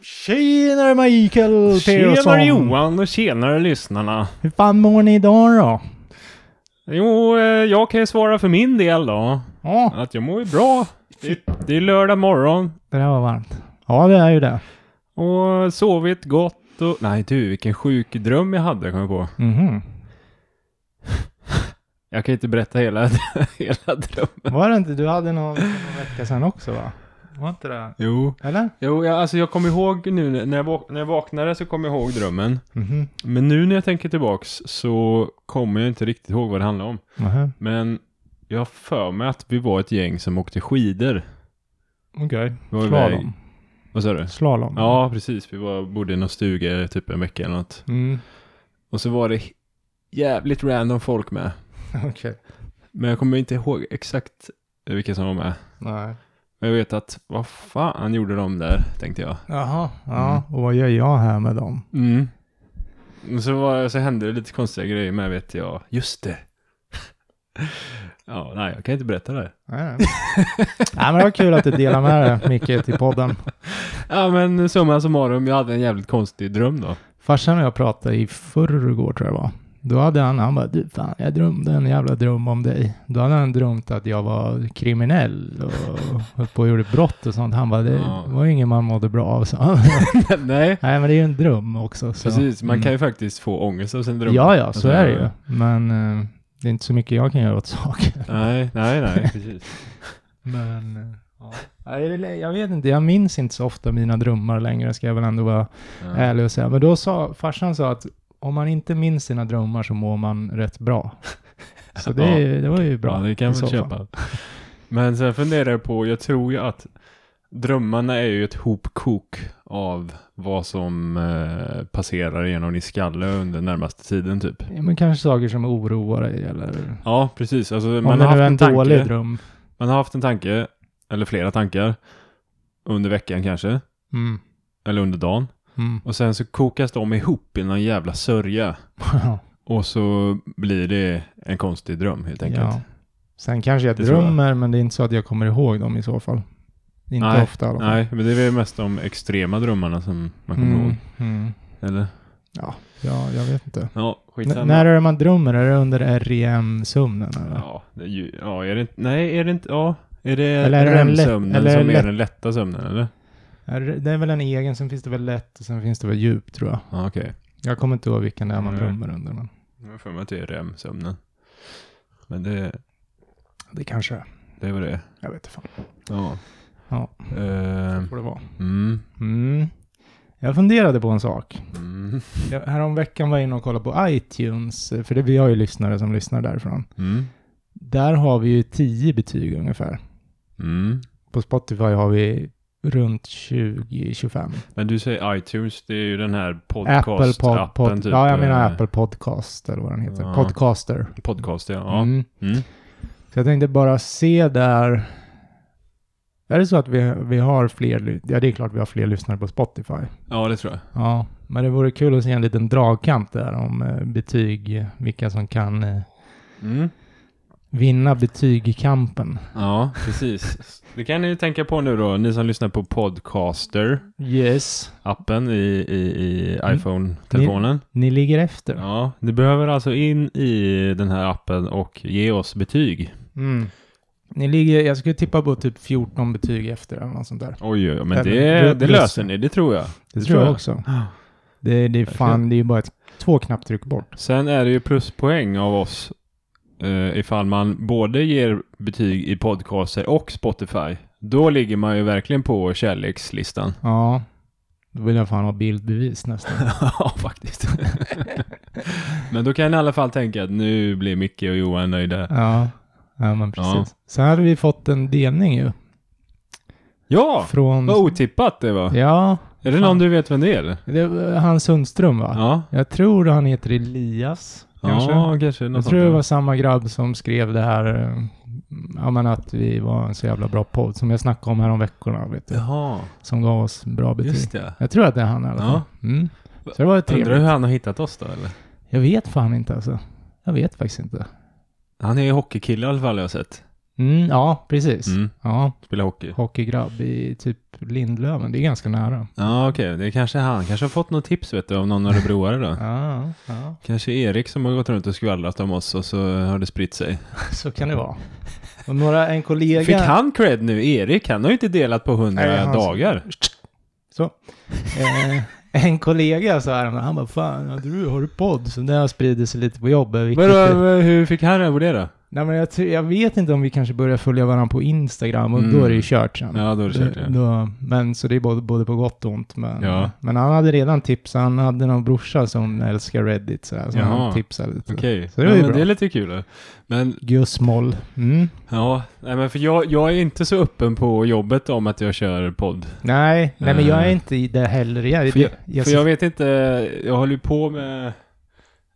Tjenare Michael Tjenare Persson! Johan och tjenare lyssnarna. Hur fan mår ni idag då? Jo, eh, jag kan ju svara för min del då. Ja, Att jag mår ju bra. Det, det är lördag morgon det där var varmt. Ja, det är ju det. och sovit gott och... Nej du, vilken sjuk dröm jag hade kom jag på. Mhm. Jag kan inte berätta hela, hela drömmen. Var det inte, du hade någon, någon vecka sedan också va? Var inte det? Jo. Eller? Jo, jag, alltså jag kommer ihåg nu när jag, vak- när jag vaknade så kommer jag ihåg drömmen. Mhm. Men nu när jag tänker tillbaks så kommer jag inte riktigt ihåg vad det handlade om. Nähä. Men jag har för mig att vi var ett gäng som åkte skidor. Okej. Vi var iväg- Slalom. Vad sa du? Slalom. Ja, precis. Vi var, bodde i någon stuga i typ en vecka eller något. Mm. Och så var det he- jävligt random folk med. Okej. Men jag kommer inte ihåg exakt vilka som var med. Nej. Men jag vet att, vad fan gjorde de där, tänkte jag. Jaha. Ja, och vad gör jag här med dem? Mm. Och så, var, så hände det lite konstiga grejer med, vet jag. Just det. ja, nej, jag kan inte berätta det. här. Nej, nej. nej men det var kul att du delar med dig Micke till podden. Ja, men summa summarum, jag hade en jävligt konstig dröm då. Farsan och jag pratade i förrgår tror jag det var. Då hade han, han bara, du fan, jag drömde en jävla dröm om dig. Då hade han drömt att jag var kriminell och höll på och gjorde brott och sånt. Han bara, det Ja. var ju ingen man mådde bra av. Så. nej, Nej, men det är ju en dröm också. Så. precis. Man Mm. kan ju Alltså, faktiskt få ångest av sin dröm. Ja, ja, så är det ju. Men eh, det är inte så mycket jag kan göra åt saken. Nej, nej, nej, precis. Men, eh, ja. Nej, det är lä- Jag vet inte, jag minns inte så ofta mina drömmar längre, ska jag väl ändå vara Ja. ärlig och säga. Men då sa, farsan sa att om man inte minns sina drömmar så mår man rätt bra. Så det, Ja. det var ju bra. Ja, det i kan så man fall. köpa. Men sen funderar jag på, jag tror ju att drömmarna är ju ett hopkok av vad som eh, passerar genom din skalle under närmaste tiden typ. Ja, men kanske saker som oroar dig eller... Ja, precis. Alltså, om man, det har nu haft är en en tanke, dålig dröm. man har haft en tanke, eller flera tankar, under veckan kanske, Mm. eller under dagen. Mm. Och sen så kokas de ihop i någon jävla sörja. Ja. Och så blir det en konstig dröm helt enkelt. ja. Sen kanske jag Det tror jag. drömmer, men det är inte så att jag kommer ihåg dem i så fall. Inte Nej, ofta i alla fall. Nej, men det är väl mest de extrema drömmarna som man kommer Mm. ihåg. Mm. Eller? Ja, ja, jag vet inte. Ja, N- när är det man drömmer? Är det under REM-sömnen? Eller? Ja, det är ju, ja, är det inte, nej, är det inte, ja, är det Eller är det en lätt- REM-sömnen eller är det som lätt- är den lätta sömnen eller? Är det- Det är väl en egen, sen finns det väl lätt och sen finns det väl djup tror jag. Ja, okej. Jag kommer inte ihåg vilken det är man Nej. drömmer under, men Jag har för mig att det är REM-sömnen. Men det, det kanske är. det var det. Jag vet inte fan. Ja. Ja. Eh, Får det vara. mm, Mm. Jag funderade på en sak. mm, Jag, häromveckan var jag inne och kollade på iTunes, eh, för det, vi har ju lyssnare som lyssnar därifrån. mm, Där har vi ju 10 betyg ungefär. mm. På Spotify har vi runt 20-25. Men du säger iTunes, det är ju den här Apple pod, podcast-appen pod, typ. Ja, jag menar eh, Apple Podcast eller vad den heter. Ja. Podcaster. Podcast, ja. ja. Mm. Mm. Så jag tänkte bara se där. Är det så att vi, vi har fler, ly- ja det är klart vi har fler lyssnare på Spotify. Ja, det tror jag. Ja, men det vore kul att se en liten dragkamp där om eh, betyg, vilka som kan eh, Mm. vinna betygkampen. Ja, precis. Det kan ni ju tänka på nu då, ni som lyssnar på Podcaster. Yes. appen i, i, i Mm. iPhone-telefonen. Ni ligger efter. Ja, ni behöver alltså in i den här appen och ge oss betyg. Mm. Ni ligger, jag skulle tippa på typ 14 betyg efter eller något sånt där. Oj, oj, oj, men Eller det, rö- det löser ni, det tror jag. Det tror tror jag jag. också. Det, det är fan, det är ju bara ett, två knapptryck bort. Sen är det ju pluspoäng av oss eh, ifall man både ger betyg i podcaster och Spotify. Då ligger man ju verkligen på kärlekslistan. Ja. Då vill jag fan ha bildbevis nästan. ja, faktiskt. men då kan ni i alla fall tänka att nu blir Micke och Johan nöjda. ja. ja, men precis. Sen hade vi fått en delning ju. Ja, Från... vad otippat det var. Ja, Är det någon du vet vem det är? eller? det var Hans Sundström va? Ja. Jag tror han heter Elias. Kanske. Ja, kanske. Något jag sånt tror det där. var samma grabb som skrev det här, eh, ja men att vi var en så jävla bra podd, som jag snackade om här om veckorna, vet du, Jaha, som gav oss bra betyg. just det. Jag tror att det är han i alla fall. Mm. Så det var ju Undrar hur trevligt. han har hittat oss då eller? Jag vet fan inte alltså. Jag vet faktiskt inte. Han är ju hockeykille i alla fall jag har sett. Mm, ja, precis. Mm. Ja, Spela hockey. hockeygrabb i typ Lindlöven. Det är ganska nära. Ja, okej. Det är kanske han. Kanske har fått något tips vet du, av någon örebroare då. Ja, ja. Kanske Erik som har gått runt och skvallrat om oss och så har det spritt sig. så kan det vara. Och några, en kollega... Fick han cred nu? Erik, han har ju inte delat på Nej, hundra han- dagar. Så. Eh, en kollega sa häromdagen, han bara fan, hade du, har du podd? Så det har spridit sig lite på jobbet. vilket- Men, eh, hur fick han över det då? Nej, men jag, tror- jag vet inte om vi kanske börjar följa varandra på Instagram och Mm. då är det ju kört sen. Ja, då är det kört. Det- ja. då, men så det är både, både på gott och ont. Men, Ja. men han hade redan tips, han hade någon brorsa som älskar Reddit sådär, så Jaha. han tipsade lite. Okej, Så det var ja, ju men bra. det är lite kul. då. Men Gusmoll. Mm. ja, nej, men för jag, jag är inte så öppen på jobbet om att jag kör podd. Nej, nej men jag är Eh. inte i det heller. Jag, För jag, jag- för jag vet inte, jag håller ju på med...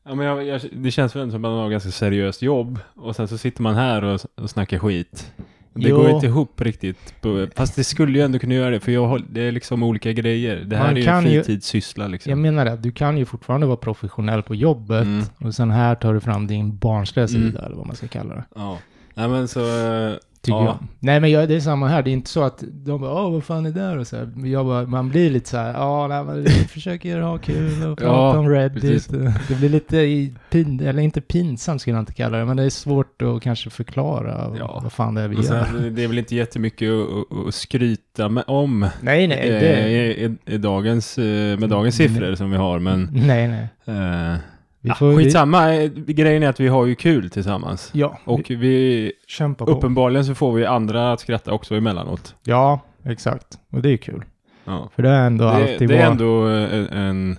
Ja, men jag, jag, det känns väl som att man har ganska seriöst jobb och sen så sitter man här och, och snackar skit. Det Jo. går ju inte ihop riktigt. på- Fast det skulle ju ändå kunna göra det för jag, håll- det är liksom olika grejer. Det här Man är ju en kan ju- fritidssyssla liksom. jag menar det, du kan ju fortfarande vara professionell på jobbet Mm. och sen här tar du fram din barnsliga Mm. sida eller vad man ska kalla det. Ja. Nej men så... eh, Tycker Ja. jag. Nej men jag, det är samma här, det är inte så att de bara åh vad fan är det där och så här. Men Jag bara, man blir lite så här, ja nej, men vi försöker ha kul och prata om Reddit. precis. Det blir lite i pin, eller inte pinsamt skulle jag inte kalla det, men det är svårt att kanske förklara Ja. vad fan det är vi Och gör. sen, det är väl inte jättemycket att, att, att skryta med, om Nej nej, eh, det, i, i, i dagens, eh, med dagens siffror som vi har, men nej nej. eh, Vi ja, får, skitsamma. Eh, Grejen är att vi har ju kul tillsammans. Vi, ja, Och vi vi, kämpar på. uppenbarligen så får vi andra att skratta också emellanåt. Ja, exakt. Och det är kul. Ja. För det är ändå Det, alltid det är vår- ändå eh, en, en,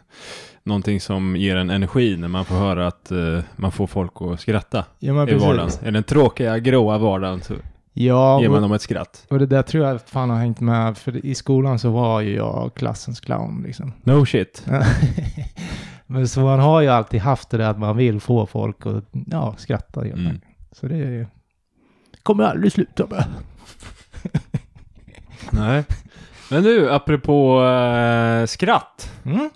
någonting som ger en energi när man får höra att eh, man får folk att skratta ja, men i vardagen. precis. I den tråkiga, gråa vardagen så Ja, ger och- man dem ett skratt. Och det där tror jag fan har hängt med, för i skolan så var ju jag klassens clown liksom. No shit. Men så man har ju alltid haft det där att man vill få folk att ja, skratta. helt Mm. enkelt. Så det är ju... kommer jag aldrig sluta med. Nej. Men du, apropå eh, skratt. Mm?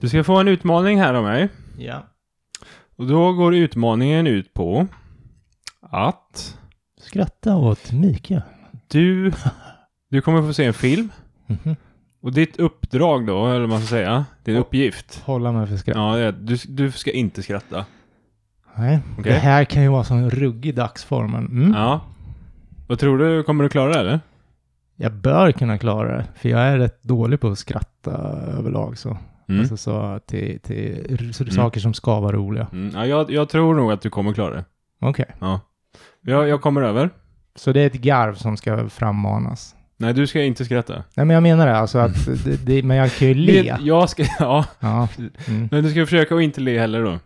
Du ska få en utmaning här av mig. Ja. Och då går utmaningen ut på att Skratta åt Mikael. du, du kommer få se en film. Mhm. Och ditt uppdrag då, eller vad man ska säga, din uppgift. Hålla mig för skratt. Ja, det är att du, du ska inte skratta. Nej. Okej. Det här kan ju vara som en ruggig dagsform, men mm. Ja. Vad tror du, kommer du klara det eller? jag bör kunna klara det. För jag är rätt dålig på att skratta överlag. Så. Mm. Alltså så till, till r- saker som ska vara roliga. Mm, ja, jag, jag tror nog att du kommer klara det. Okej. Ja. Jag, jag kommer över. Så det är ett garv som ska frammanas. Nej, du ska inte skratta. Nej, men jag menar det alltså att, Mm. det, det, men jag kan ju le. Jag ska, ja. Ja. Mm. Men du ska försöka att inte le heller då.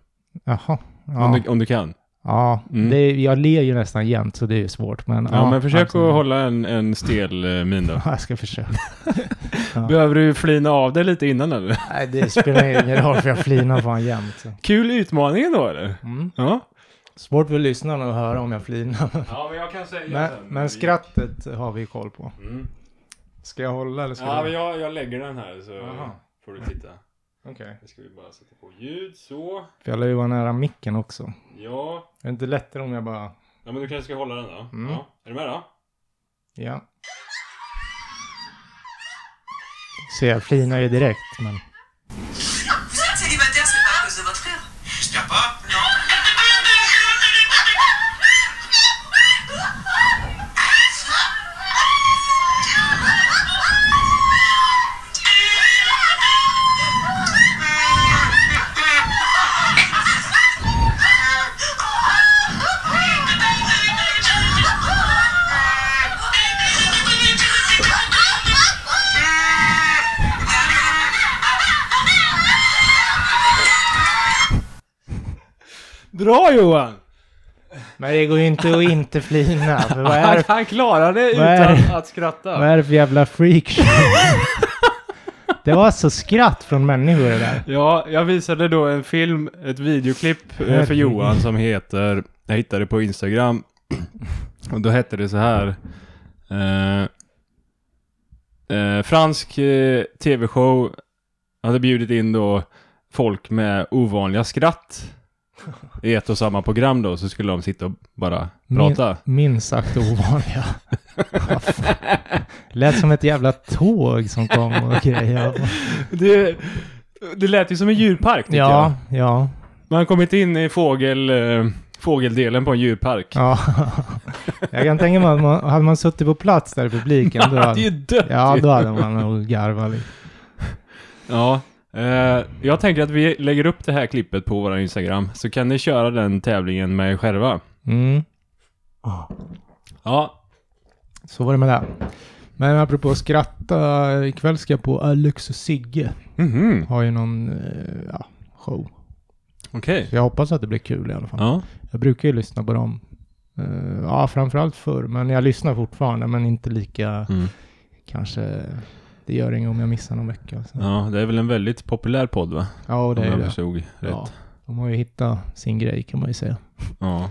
Jaha. Om, Ja, du, om du kan. ja. Mm. Det, är- jag ler ju nästan jämt så det är ju svårt. Men, Ja, men försök absolut. att hålla en, en stel eh, min då. Ja, jag ska försöka. Ja. Behöver du flina av dig lite innan eller? Nej, det spelar ingen roll för jag flinar fan jämt. Så. Kul utmaning då eller? Mm. Ja. Svårt för lyssnarna att höra om jag flinar. Ja, men jag kan säga Men, men skrattet har vi koll på. Mm. Ska jag hålla eller ska Ja, men du? jag, jag lägger den här så Jaha. får du titta. Okej. Nu ska vi bara sätta på ljud så. För jag lär ju vara nära micken också. Ja. Är det inte lättare om jag bara... Ja, men du kanske ska hålla den då? Mm. Ja. Är du med då? Ja. Så jag flinar ju direkt, men... Célibataire, c'est pas à cause de votre frère. Je tiens pas. Bra Johan! Men det går ju inte att inte flina. För vad är, Han klarade Vad är utan att skratta. vad är det för jävla freakshow? Det var alltså skratt från människor det där. Ja, jag visade då en film, ett videoklipp eh, för Johan som heter, jag hittade det på Instagram. Och då hette det så här. Eh, eh, fransk eh, tv-show hade bjudit in då folk med ovanliga skratt. i ett och samma program då så skulle de sitta och bara prata. Minst sagt ovanliga. Vad fan. Lät som ett jävla tåg som kom och grejer. Det, det lät ju som en djurpark tycker jag. Ja, ja, Man har kommit in i fågel, eh, fågeldelen på en djurpark. ja. Jag kan tänka mig att man, hade man suttit på plats där i publiken, då Man hade ju hade, dött ja, ju. då hade man nog garvat lite. Ja, eh, jag tänker att vi lägger upp det här klippet på vår Instagram så kan ni köra den tävlingen med er själva. Mm. Ja, Så var det med det. Men apropå att skratta, ikväll ska jag på Alex och Sigge. mhm, Har ju någon eh, ja, show. okej. Så jag hoppas att det blir kul i alla fall. Ja, Jag brukar ju lyssna på dem. Eh, ja, framförallt förr. Men jag lyssnar fortfarande, men inte lika mm. kanske. Det gör inget om jag missar någon vecka. Så. Ja, ja, det är väl en väldigt populär podd va? och det Om är jag det. förstod rätt. Ja, Ja. de har ju hittat sin grej kan man ju säga.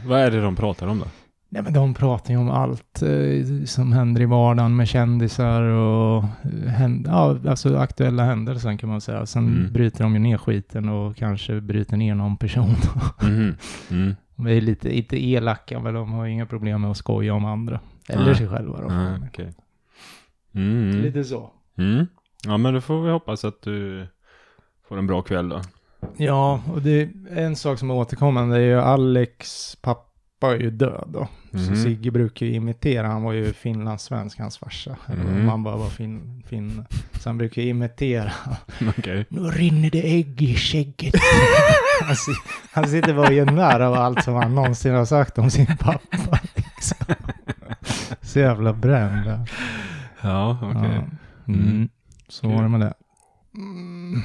Vad är det de pratar om då? Nej men de pratar ju om allt eh, som händer i vardagen med kändisar och eh, händ- ja, alltså aktuella händelser kan man säga. Sen Mm. bryter de ju ner skiten och kanske bryter ner någon person. Mhm, Mm. de är lite, inte elaka men de har ju inga problem med att skoja om andra. Eller Nej. sig själva då. Ja, okej. Mm. mm. Lite så. Mm. Ja, men då får vi hoppas att du får en bra kväll då. Ja, och det är en sak som är återkommande är ju Alex pappa är ju död då. Så Mhm. Sigge brukar ju imitera, han var ju finlandssvensk, hans farsa. Mhm. Man bara var fin, fin. Så han brukar ju imitera. Okej. Nu rinner det ägg i skägget. han, si- han sitter bara och gör narr av allt som han någonsin har sagt om sin pappa. Liksom. Så jävla bränd. där. Ja, okej. Ja. Mm. Så var det med det. Mm.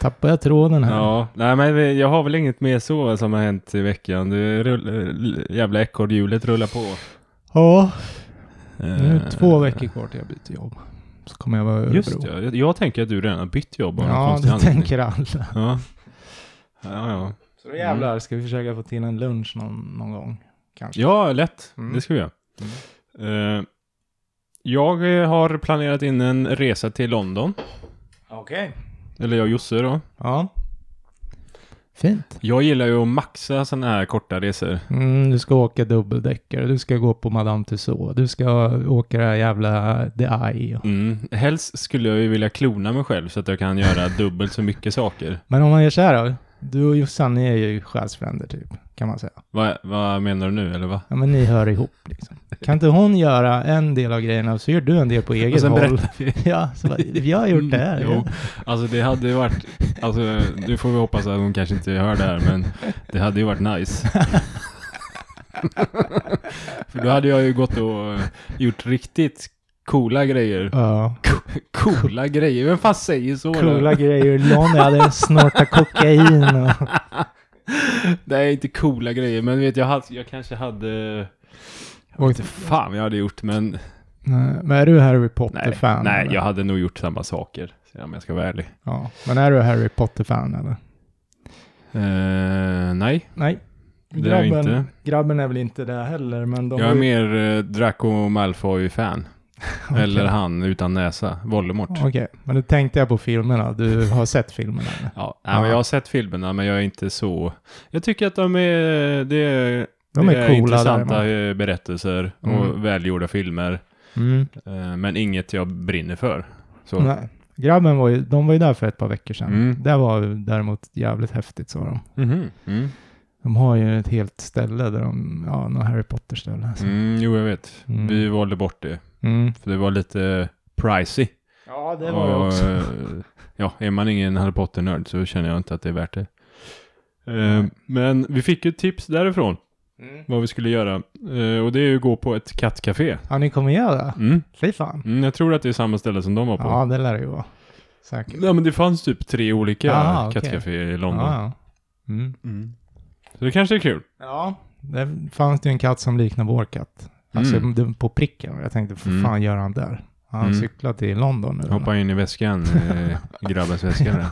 Tappar jag tråden här? Ja, nej men vi- jag har väl inget mer så som har hänt i veckan. Det rull, eh, jävla ekorrhjulet rullar på. ja. Nu är Eh, det två veckor kvar till jag byter jobb. Så kommer jag vara i Örebro. Just ja, jag, jag tänker att du redan har bytt jobb av någon Ja, konstig det anledning. tänker alla. Ja. Ja, ja. Så då jävlar ska vi försöka få till en lunch någon, någon gång. Kanske. ja, lätt. Mm. Det ska vi göra. Eh, jag eh, har planerat in en resa till London. Okej. Eller jag och Josse då. Ja. Fint. Jag gillar ju att maxa sådana här korta resor. Mm, du ska åka dubbeldäckare, du ska gå på Madame Tussauds, du ska åka det här jävla The Eye. Mm. Helst skulle jag ju vilja klona mig själv så att jag kan göra dubbelt så mycket saker. Men om man gör så här då? Du och Jossan, ni är ju själsfränder typ, kan man säga. Vad vad menar du nu eller vad? Ja, men ni hör ihop liksom. Kan inte hon göra en del av grejerna så gör du en del på eget sen håll? berättar vi. Ja, så bara, jag har gjort det här. Mm, Jo, alltså det hade ju varit, alltså nu får vi hoppas att hon kanske inte hör det här men det hade ju varit nice. För då hade jag ju gått och eh, gjort riktigt coola grejer. Ja. Coola grejer, vem fan säger så? då? Coola grejer. Lonnie hade snortat kokain och... Nej, inte coola grejer men vet jag, hade, jag kanske hade, Åkte fan vad jag hade gjort men Nej, Men är du Harry Nej, Potter-fan? nej eller? jag hade nog gjort samma saker om jag ska vara ärlig. ja. Men är du Harry Potter-fan eller? Eh, nej, Nej. Det är jag Grabben, inte. grabben är väl inte det heller, men de... jag har är ju- mer eh, Draco Malfoy-fan. Okej. Eller han utan näsa, Voldemort. Okej, men nu tänkte jag på filmerna. Du har sett filmerna eller? Ja, nej, men Ah. jag har sett filmerna men jag är inte så... Jag tycker att de är... Det är, De det är, coola intressanta däremot. eh, berättelser och Mm. välgjorda filmer. Mm. eh, Men inget jag brinner för. Så. Nej. Grabben var ju, de var ju där för ett par veckor sedan. Mm. Det var ju däremot jävligt häftigt sa de. Mhm. Mm. De har ju ett helt ställe där de, ja, något Harry Potter-ställe. alltså. Mm, jo, jag vet. Mm. Vi valde bort det. Mm. För det var lite pricey. Ja, det Och, eh, Ja, är man ingen Harry Potter-nörd så känner jag inte att det är värt det. Eh, Men vi fick ju tips därifrån Mm. vad vi skulle göra. Eh, Och det är ju gå på ett kattcafé. Ja, ni kommer göra det? Mm. Fy fan. Mm, jag tror att det är samma ställe som de var på. Ja, det lär det ju vara. Säkert. Nej men det fanns typ tre olika Ah, okej. kattcaféer i Ja, London. ja. Mm. Mm. Så det kanske är kul. ja, det fanns ju en katt som liknar vår katt. Alltså Mm. den- på pricken. Jag tänkte, vad Mm. fan gör han där? Har han Mm. cyklat till London nu? eller? Hoppa in i väskan, eh, i grabbens väska där.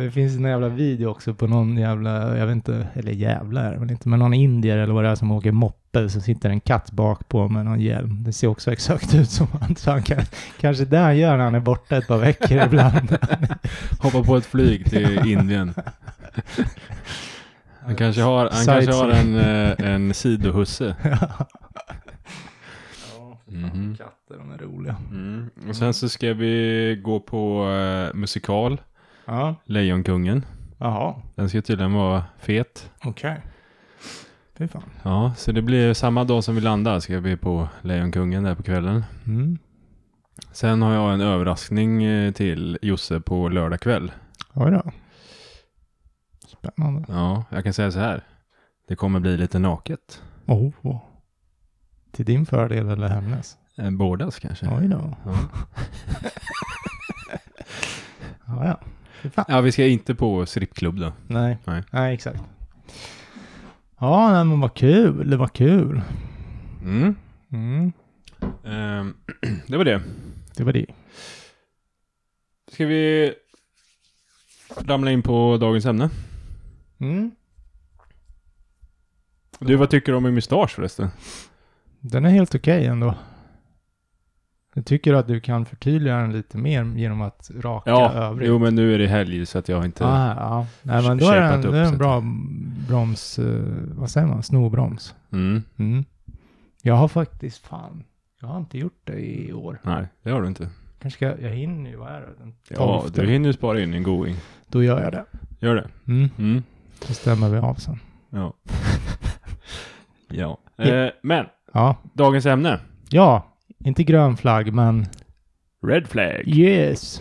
Det finns en jävla video också på någon jävla, jag vet inte, eller jävla är det väl inte, men någon indier eller vad det är som åker moppe så sitter en katt bak på med någon hjälm. Det ser också exakt ut som han, så han kan, kanske det han gör när han är borta ett par veckor ibland. Hoppa på ett flyg till Indien. Han kanske har, han Sightseeing. kanske har en, eh, en sidohusse. Mhm. Katter, de är roliga. Mm. Och sen så ska vi gå på eh, musikal, Ja, Lejonkungen. jaha, Den ska tydligen vara fet. okej. Fy fan. Ja, så det blir samma dag som vi landar ska vi på Lejonkungen där på kvällen. Mm. Sen har jag en överraskning eh, till Josse på lördag kväll. Oj då. Spännande. Ja, jag kan säga så här. Det kommer bli lite naket. Oh. Till din fördel eller hennes? Eh, Bådas kanske. Oj då. Ja. Ja, ja. Fy fan. Ja, vi ska inte på strippklubb då. Nej. Nej. Nej, exakt. Ja, nej, men vad kul. Det var kul. Mm. Mm. Ehm, det var det. Det var det. Ska vi ramla in på dagens ämne? Mm. Du, vad tycker du om min mustasch förresten? Den är helt okej ändå. Jag tycker att du kan förtydliga den lite mer genom att raka övrigt. jo men nu är det helg så att jag inte... Ah, ja. Nej, men då är Shapat den, upp det är en sig. bra broms, eh, vad säger man, snobroms. Mm. Mm. Jag har faktiskt, fan, jag har inte gjort det i år. Nej, det har du inte. Kanske ska, jag hinner ju, vad är det, den Ja, tolfte? du hinner ju spara in en going. Då gör jag det. Gör det. Mm. Mm. Då stämmer vi av sen. Ja. ja. Ja. Eh, men, Ja, dagens ämne. ja inte grön flagg, men Red flag. yes.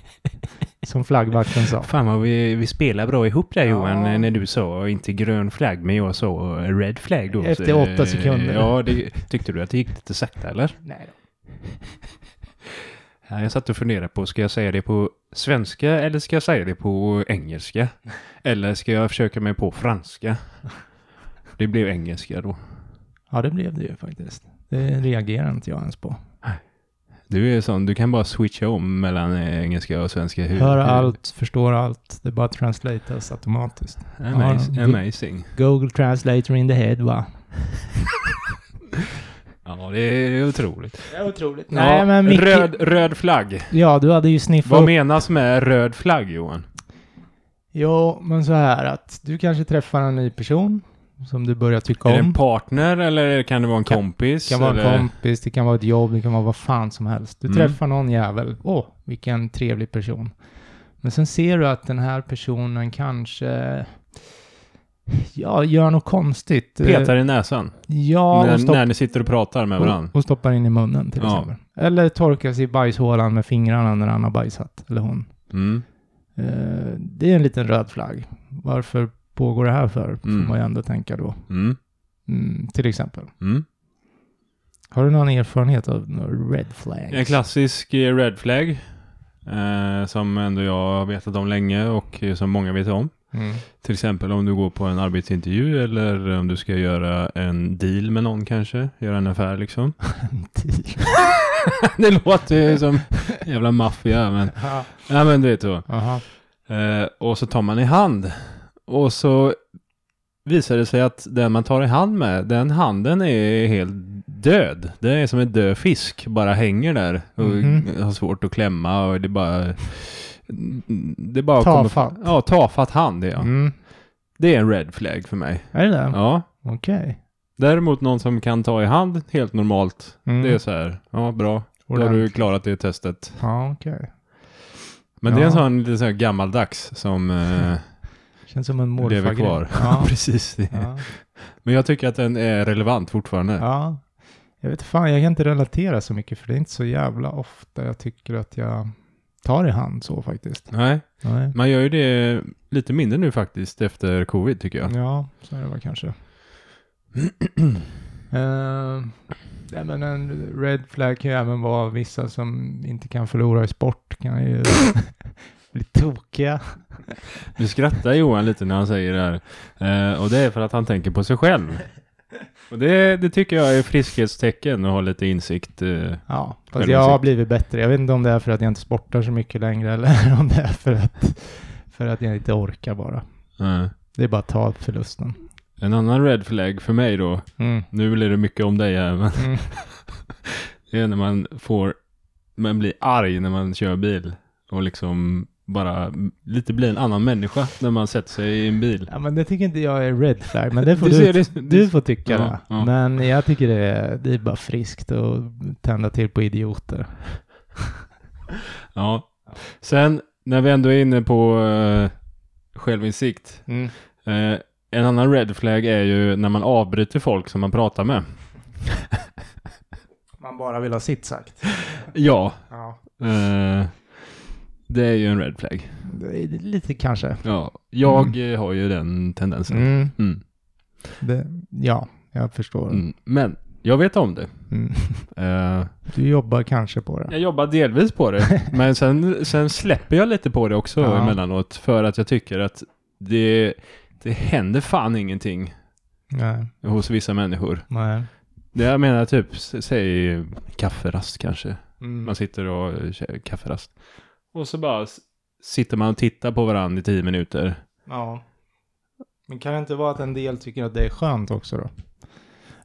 Som flaggvakten sa. Fan vad vi, vi spelar bra ihop där Ja. Johan, eh, när du sa inte grön flagg men jag sa eh, red flag då. Efter Så, åtta eh, sekunder. Ja, det, tyckte du att det gick lite sakta eller? Nej då. Ja, jag satt och funderade på, ska jag säga det på svenska eller ska jag säga det på engelska? Eller ska jag försöka mig på franska? Det blev engelska då. Ja, det blev det ju faktiskt. Det reagerar inte jag ens på. Du är sån, du kan bara switcha om mellan eh, engelska och svenska. Hur, Hör hur- allt, förstår allt. Det bara translatas automatiskt. Amaz- Ja. amazing. Google Translator in the head, va? Ja, det är otroligt. Det är otroligt. ja, Nej, men Micke... röd, röd flagg. Ja, du hade ju sniffat Vad upp... menas med röd flagg Johan? Jo, men så här att du kanske träffar en ny person som du börjar tycka Är det en om. partner eller kan det vara en kompis? Det kan vara eller? en kompis, det kan vara ett jobb, det kan vara vad fan som helst. Du Mm. träffar någon jävel. Åh, vilken trevlig person. Men sen ser du att den här personen kanske... Ja, gör något konstigt. Eh, Petar i näsan. Ja, och när, stoppar när ni sitter och pratar med varandra. Och, och stoppar in i munnen till Ja. exempel. Eller torkar sig i bajshålan med fingrarna när han har bajsat, eller hon. Mm. Eh, det är en liten röd flagg. Varför pågår det här för? Får Mm. man ju ändå tänka då. Mm. Mm, till exempel. Mm. Har du någon erfarenhet av några red flags? En klassisk eh, red flag. Eh, som ändå jag har vetat om länge och eh, som många vet om. Mm. Till exempel om du går på en arbetsintervju eller om du ska göra en deal med någon kanske. Göra en affär liksom. det låter ju som jävla maffia men. Ja men du vet så. Aha. Eh, och så tar man i hand. Och så visar det sig att den man tar i hand med, den handen är helt död. Det är som en död fisk, bara hänger där och Mhm. har svårt att klämma och det bara... Det bara Tafatt. Kommer, ja, tafatt hand är jag. Mm. Det är en red flag för mig. Är det det? Ja. Okej. Däremot någon som kan ta i hand helt normalt, Mm. det är så här, ja bra, då har du Ordentligt. klarat det testet. Ja, okej. Men det är en Ja. sån lite så här gammaldags som eh, Känns som en lever morfargrej. kvar. Ja. Precis, det är ja. Men jag tycker att den är relevant fortfarande. Ja. Jag vet fan, jag kan inte relatera så mycket för det är inte så jävla ofta jag tycker att jag tar i hand så faktiskt. Nej, Nej. man gör ju det lite mindre nu faktiskt efter covid tycker jag. Ja, så är det väl kanske. Eh, nej, men en red flag kan ju även vara vissa som inte kan förlora i sport kan ju bli tokiga. Nu skrattar Johan lite när han säger det här. Eh, och det är för att han tänker på sig själv. Och det, det tycker jag är friskhetstecken och ha lite insikt. Eh. Ja, fast Självinsikt. jag har blivit bättre. Jag vet inte om det är för att jag inte sportar så mycket längre eller om det är för att, för att jag inte orkar bara. eh. Det är bara att ta förlusten. En annan red flag för mig då, Mm. nu blir det mycket om dig här, men Mm. det är när man får, man blir arg när man kör bil och liksom bara lite bli en annan människa när man sätter sig i en bil. Ja, men det tycker inte jag är red flag, men det får du, ser du, det- du- får tycka Ja, det. ja. Men jag tycker det är, det är bara friskt att tända till på idioter. Ja. Sen när vi ändå är inne på eh, självinsikt. Eh, en annan red flag är ju när man avbryter folk som man pratar med. Man bara vill ha sitt sagt. Ja, Ja. eh, det är ju en red flag. Det är lite kanske. Ja, jag eh, har ju den tendensen. Mm. Mm. Det, ja, jag förstår. Mm. Men jag vet om det. Mm. Eh, Du jobbar kanske på det. jag jobbar delvis på det, men sen, sen släpper jag lite på det också Ja. emellanåt för att jag tycker att det, det händer fan ingenting Nej. hos vissa människor. Nej. Det jag menar typ, s- säg kafferast kanske. Mm. Man sitter och eh, kör kafferast. Mm. Och så bara s- sitter man och tittar på varandra i tio minuter. Ja. Men kan det inte vara att en del tycker att det är skönt också då?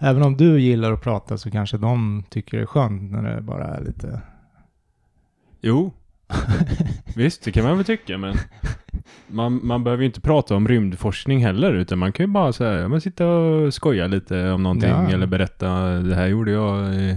Även om du gillar att prata så kanske de tycker det är skönt när det bara är lite... Jo, visst det kan man väl tycka men man, man behöver ju inte prata om rymdforskning heller utan man kan ju bara så här, ja, men sitta och skoja lite om någonting Ja. eller berätta det här gjorde jag eh,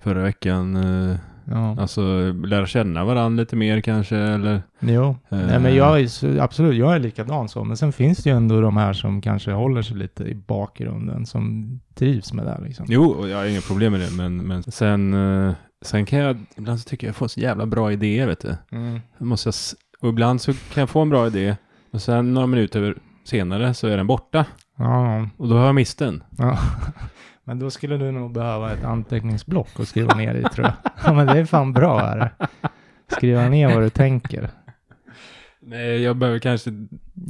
förra veckan. eh." ja. Alltså lära känna varandra lite mer kanske eller Jo, Eh. Nej, men jag är, så- absolut, jag är likadan så. Men sen finns det ju ändå de här som kanske håller sig lite i bakgrunden, som trivs med det här liksom. Jo, och jag har inga problem med det, men, men sen, eh, sen kan jag, ibland så tycker jag jag får så jävla bra idéer, vet du. Mm. Jag måste, jag s- och ibland så kan jag få en bra idé, och sen några minuter senare så är den borta, Ja, och då har jag mist den. ja. Men då skulle du nog behöva ett anteckningsblock och skriva ner i tror jag. Ja, men det är fan bra är det. Skriva ner vad du tänker. Nej, jag behöver kanske...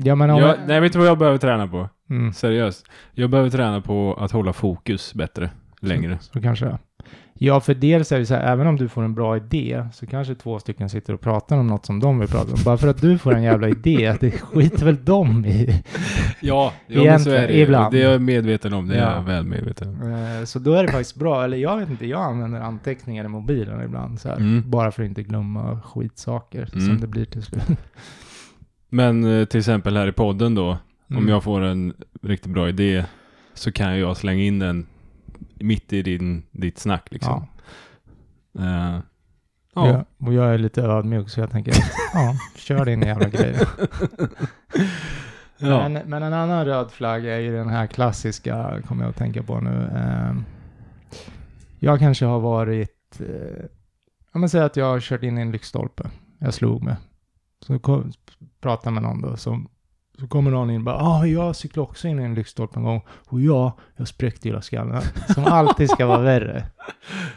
Ja, men om... Jag, nej, vet du vad jag behöver träna på? Mm, Seriöst. Jag behöver träna på att hålla fokus bättre, längre. så kanske det. Ja, för dels är det så här, även om du får en bra idé så kanske två stycken sitter och pratar om något som de vill prata om. Bara för att du får en jävla idé, det skiter väl de i. Ja, ja, men så är det ju. Ibland. Det är jag medveten om, det är Ja. jag väl medveten om. Eh, Så då är det faktiskt bra, eller jag vet inte, jag använder anteckningar i mobilen ibland så här, Mm. bara för att inte glömma skitsaker som Mm. det blir till slut. Men eh, till exempel här i podden då, Mm. Om jag får en riktigt bra idé så kan jag slänga in den mitt i din, ditt snack liksom. ja. Ja. ja. Ja. Och jag är lite ödmjuk så jag tänker, ja, kör din jävla grej. Ja. Men, men en annan röd flagg är ju den här klassiska, kommer jag att tänka på nu. ehm, jag kanske har varit, eh, om man säger att jag har kört in i en lyktstolpe, jag slog mig. Så kom, pratar med någon då, som, så kommer någon in och bara, ah, jag cyklade också in i en lyktstolpe en gång, och ja, jag spräckte hela skallen. Som alltid ska vara värre. Den-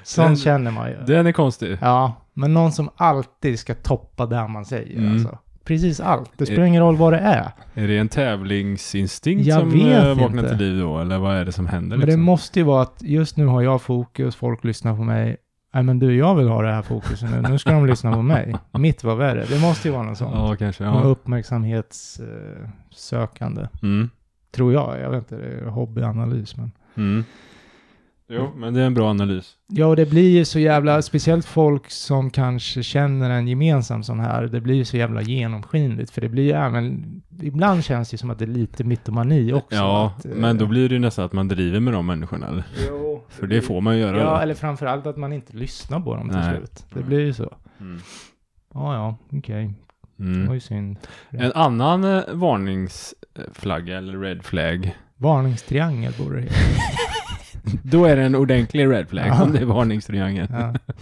Sånt känner man ju. Den är konstig. Ja, men någon som alltid ska toppa det man säger Mm. alltså. Precis allt, det spelar ingen roll vad det är. Är det en tävlingsinstinkt Jag som vet eh, vaknar inte. till liv då? Eller vad är det som händer? Men det Liksom? måste ju vara att just nu har jag fokus, folk lyssnar på mig. Nej men du, jag vill ha det här fokuset nu. Nu ska de lyssna på mig. Mitt var värre. Det måste ju vara något sånt. ja, kanske. Ja. Ja. Uppmärksamhetssökande. Mm. Tror jag. Jag vet inte, det är hobbyanalys men. Mm. Jo, men det är en bra analys. Ja, och det blir ju så jävla, speciellt folk som kanske känner en gemensam sån här, det blir ju så jävla genomskinligt. För det blir ju även, ibland känns det ju som att det är lite mytomani också. ja, att, eh, men då blir det ju nästan att man driver med de människorna. Eller? Jo, För det får man ju göra. Mm. Ja, eller? eller framförallt att man inte lyssnar på dem till Nej. slut. Det blir ju så. Mm. Ja, ja, okej. Det var Mm. ju synd. En annan eh, varningsflagga eller red flag Mm. Varningstriangel borde det heta. Då är det en ordentlig red flag Ja. om det är varningstriangeln. Ja.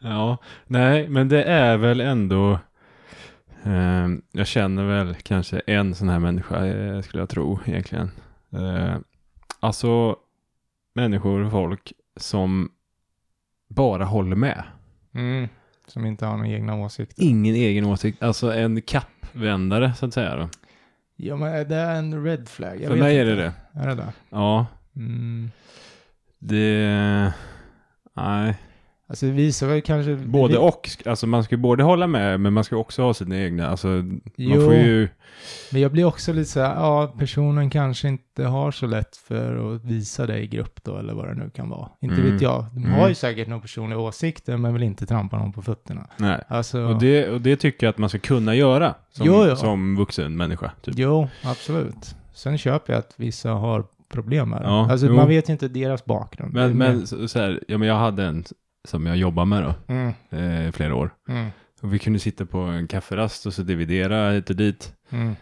Ja. nej, men det är väl ändå. ehm, jag känner väl kanske en sån här människa eh, skulle jag tro egentligen. Eh, alltså människor och folk som bara håller med. Mm. Som inte har några egna åsikter. Ingen egen åsikt, alltså en kappvändare så att säga. Då. Ja, men är det en red flag? Jag För vet mig är inte. det det. Är det det? Ja, Mm. det. Nej, Alltså vi så kanske... Både vi, och. sk- Alltså man ska ju både hålla med, men man ska också ha sina egna. Alltså man Jo, får ju... men jag blir också lite så här, ja, personen kanske inte har så lätt för att visa det i grupp då, eller vad det nu kan vara. Inte Mm. vet jag. De har Mm. ju säkert några personliga åsikter, men vill inte trampa någon på fötterna. Nej. Alltså, Och, det, och det tycker jag att man ska kunna göra som, Jo, ja. som vuxen människa. Typ. jo, absolut. Sen köper jag att vissa har problem med det. Ja, alltså jo. man vet ju inte deras bakgrund. Det är Men, mer- men så, så här, ja, men jag hade en som jag jobbade med då, Mm, eh, i flera år. mm, Och vi kunde sitta på en kafferast och så dividera hit och dit. mm.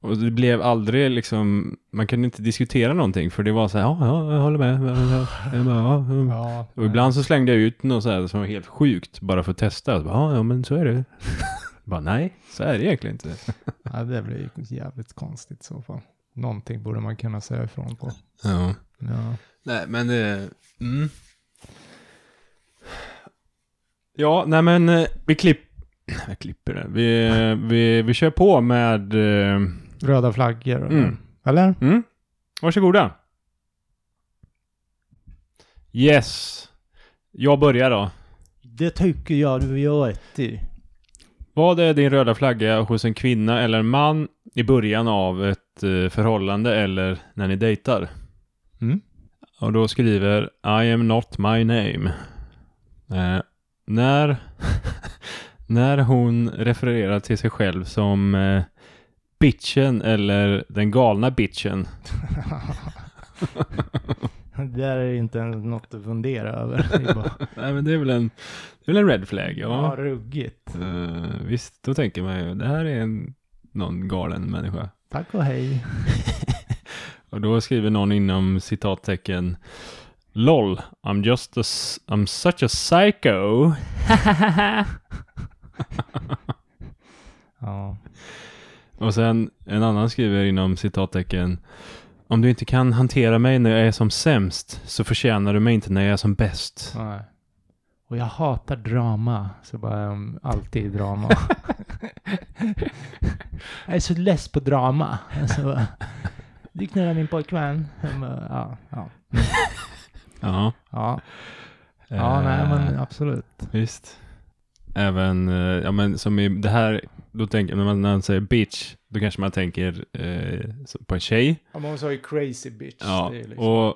Och det blev aldrig liksom, man kunde inte diskutera någonting för det var så här, ja, ja jag håller med. Jag bara, ja, mm. Ja, Och ibland så slängde jag ut något så här som var helt sjukt bara för att testa. Och så bara, Ja, ja men så är det. bara nej, så är det egentligen inte. Ja, det blir ju jävligt konstigt i så fall. Någonting borde man kunna säga ifrån på. Ja. Ja. Nej men det... Mm. Ja, nej men eh, vi klipp... Jag klipper det. Vi, eh, vi, vi kör på med... eh, Röda flaggor. och- Mm. Eller? Mm. Varsågoda. Yes. Jag börjar då. Det tycker jag du gör rätt i. Vad är din röda flagga hos en kvinna eller en man i början av ett eh, förhållande eller när ni dejtar? Mm. Och då skriver I am not my name. Eh, när, när hon refererar till sig själv som eh, bitchen eller den galna bitchen. det där är inte ens något att fundera över. Det är bara, Nej men det är väl en, det är väl en red flag? ja, Ja. ruggigt. Eh, visst, då tänker man ju det här är en, någon galen människa. Tack och hej. Och då skriver någon inom citattecken LOL, I'm just a, s- I'm such a psycho. Ja. Och sen en annan skriver inom citattecken Om du inte kan hantera mig när jag är som sämst så förtjänar du mig inte när jag är som bäst. Nej. Och jag hatar drama. Så bara, um, alltid drama. jag är så less på drama. Alltså, bara, du knullar min pojkvän. Jag bara, Ja, ja. Ja. ja. ja Eh, nej men absolut. Visst. Även, eh, ja men som i det här, då tänker när man, när man säger bitch, då kanske man tänker eh, så- på en tjej. Ja, men hon sa ju crazy bitch. Ja, liksom. och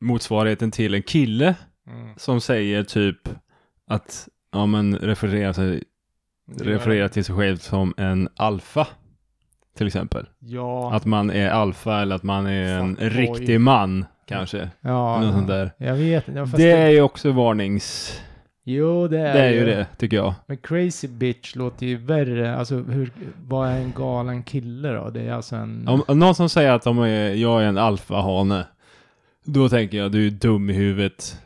motsvarigheten till en kille Mm. som säger typ att, ja men refererar, sig, refererar till sig själv som en alfa. Till exempel. Ja. Att man är alfa eller att man är en Fuckboy. riktig man kanske. ja. Något sånt där. Jag vet ja, fast Det är ju också varnings... Jo, det är, Det är ju det, tycker jag. Men crazy bitch låter ju värre. Alltså, hur, vad är en galen kille då? Det är alltså en... Om, om någon som säger att de är, jag är en alfahane, då tänker jag du är dum i huvudet.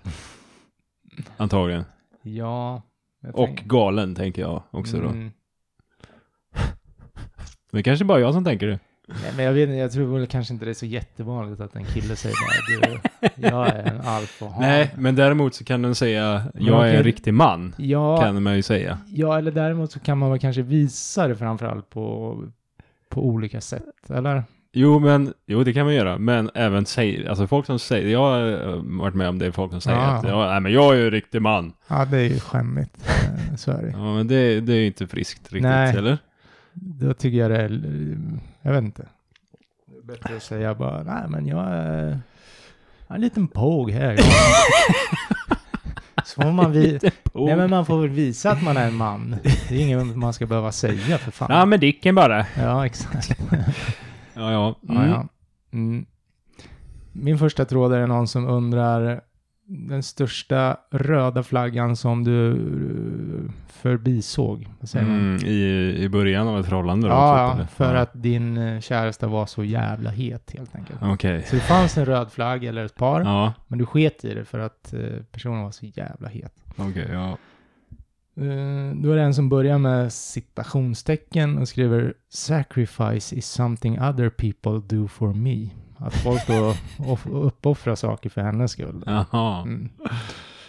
Antagligen. Ja. jag Och tänker- galen tänker jag också då. Mm. Det är kanske bara jag som tänker det. Nej, men jag vet inte, jag tror väl kanske inte det är så jättevanligt att en kille säger bara du, jag är en alfahan. Nej, men däremot så kan den säga Men jag man är en kan- riktig man. Ja, Kan man ju säga. ja, eller däremot så kan man väl kanske visa det framförallt på, på olika sätt, eller? Jo, men jo, det kan man göra. Men även säger, alltså folk som säger, jag har eh, varit med om det, folk som säger Ja. att jag, nej, men jag är ju en riktig man. Ja, det är ju skämmigt. eh, Så är det. Ja, men det, det är ju inte friskt riktigt, Nej. eller? Då tycker jag det är, l- jag vet inte. Det är bättre att säga bara, nej men jag är, jag är en liten påg här. så får man vi, nej men man får väl visa att man är en man. Det är inget man ska behöva säga för fan. Oh. men dicken bara. Ja, exakt. Ja, ja. Ja, ja. Mm. Min första tråd är någon som undrar den största röda flaggan som du eh, förbisåg. Vad säger man? Mm, i, I början av ett förhållande då? typ, Ja, eller? ja, för Ja. att din eh, käresta var så jävla het helt enkelt. Okej. Så det fanns en röd flagg eller ett par, Ja, men du sket i det för att eh, personen var så jävla het. okej, ja. Eh, Då är det en som börjar med citationstecken och skriver “Sacrifice is something other people do for me”. Att folk då off- uppoffrar saker för hennes skull. Jaha. Mm.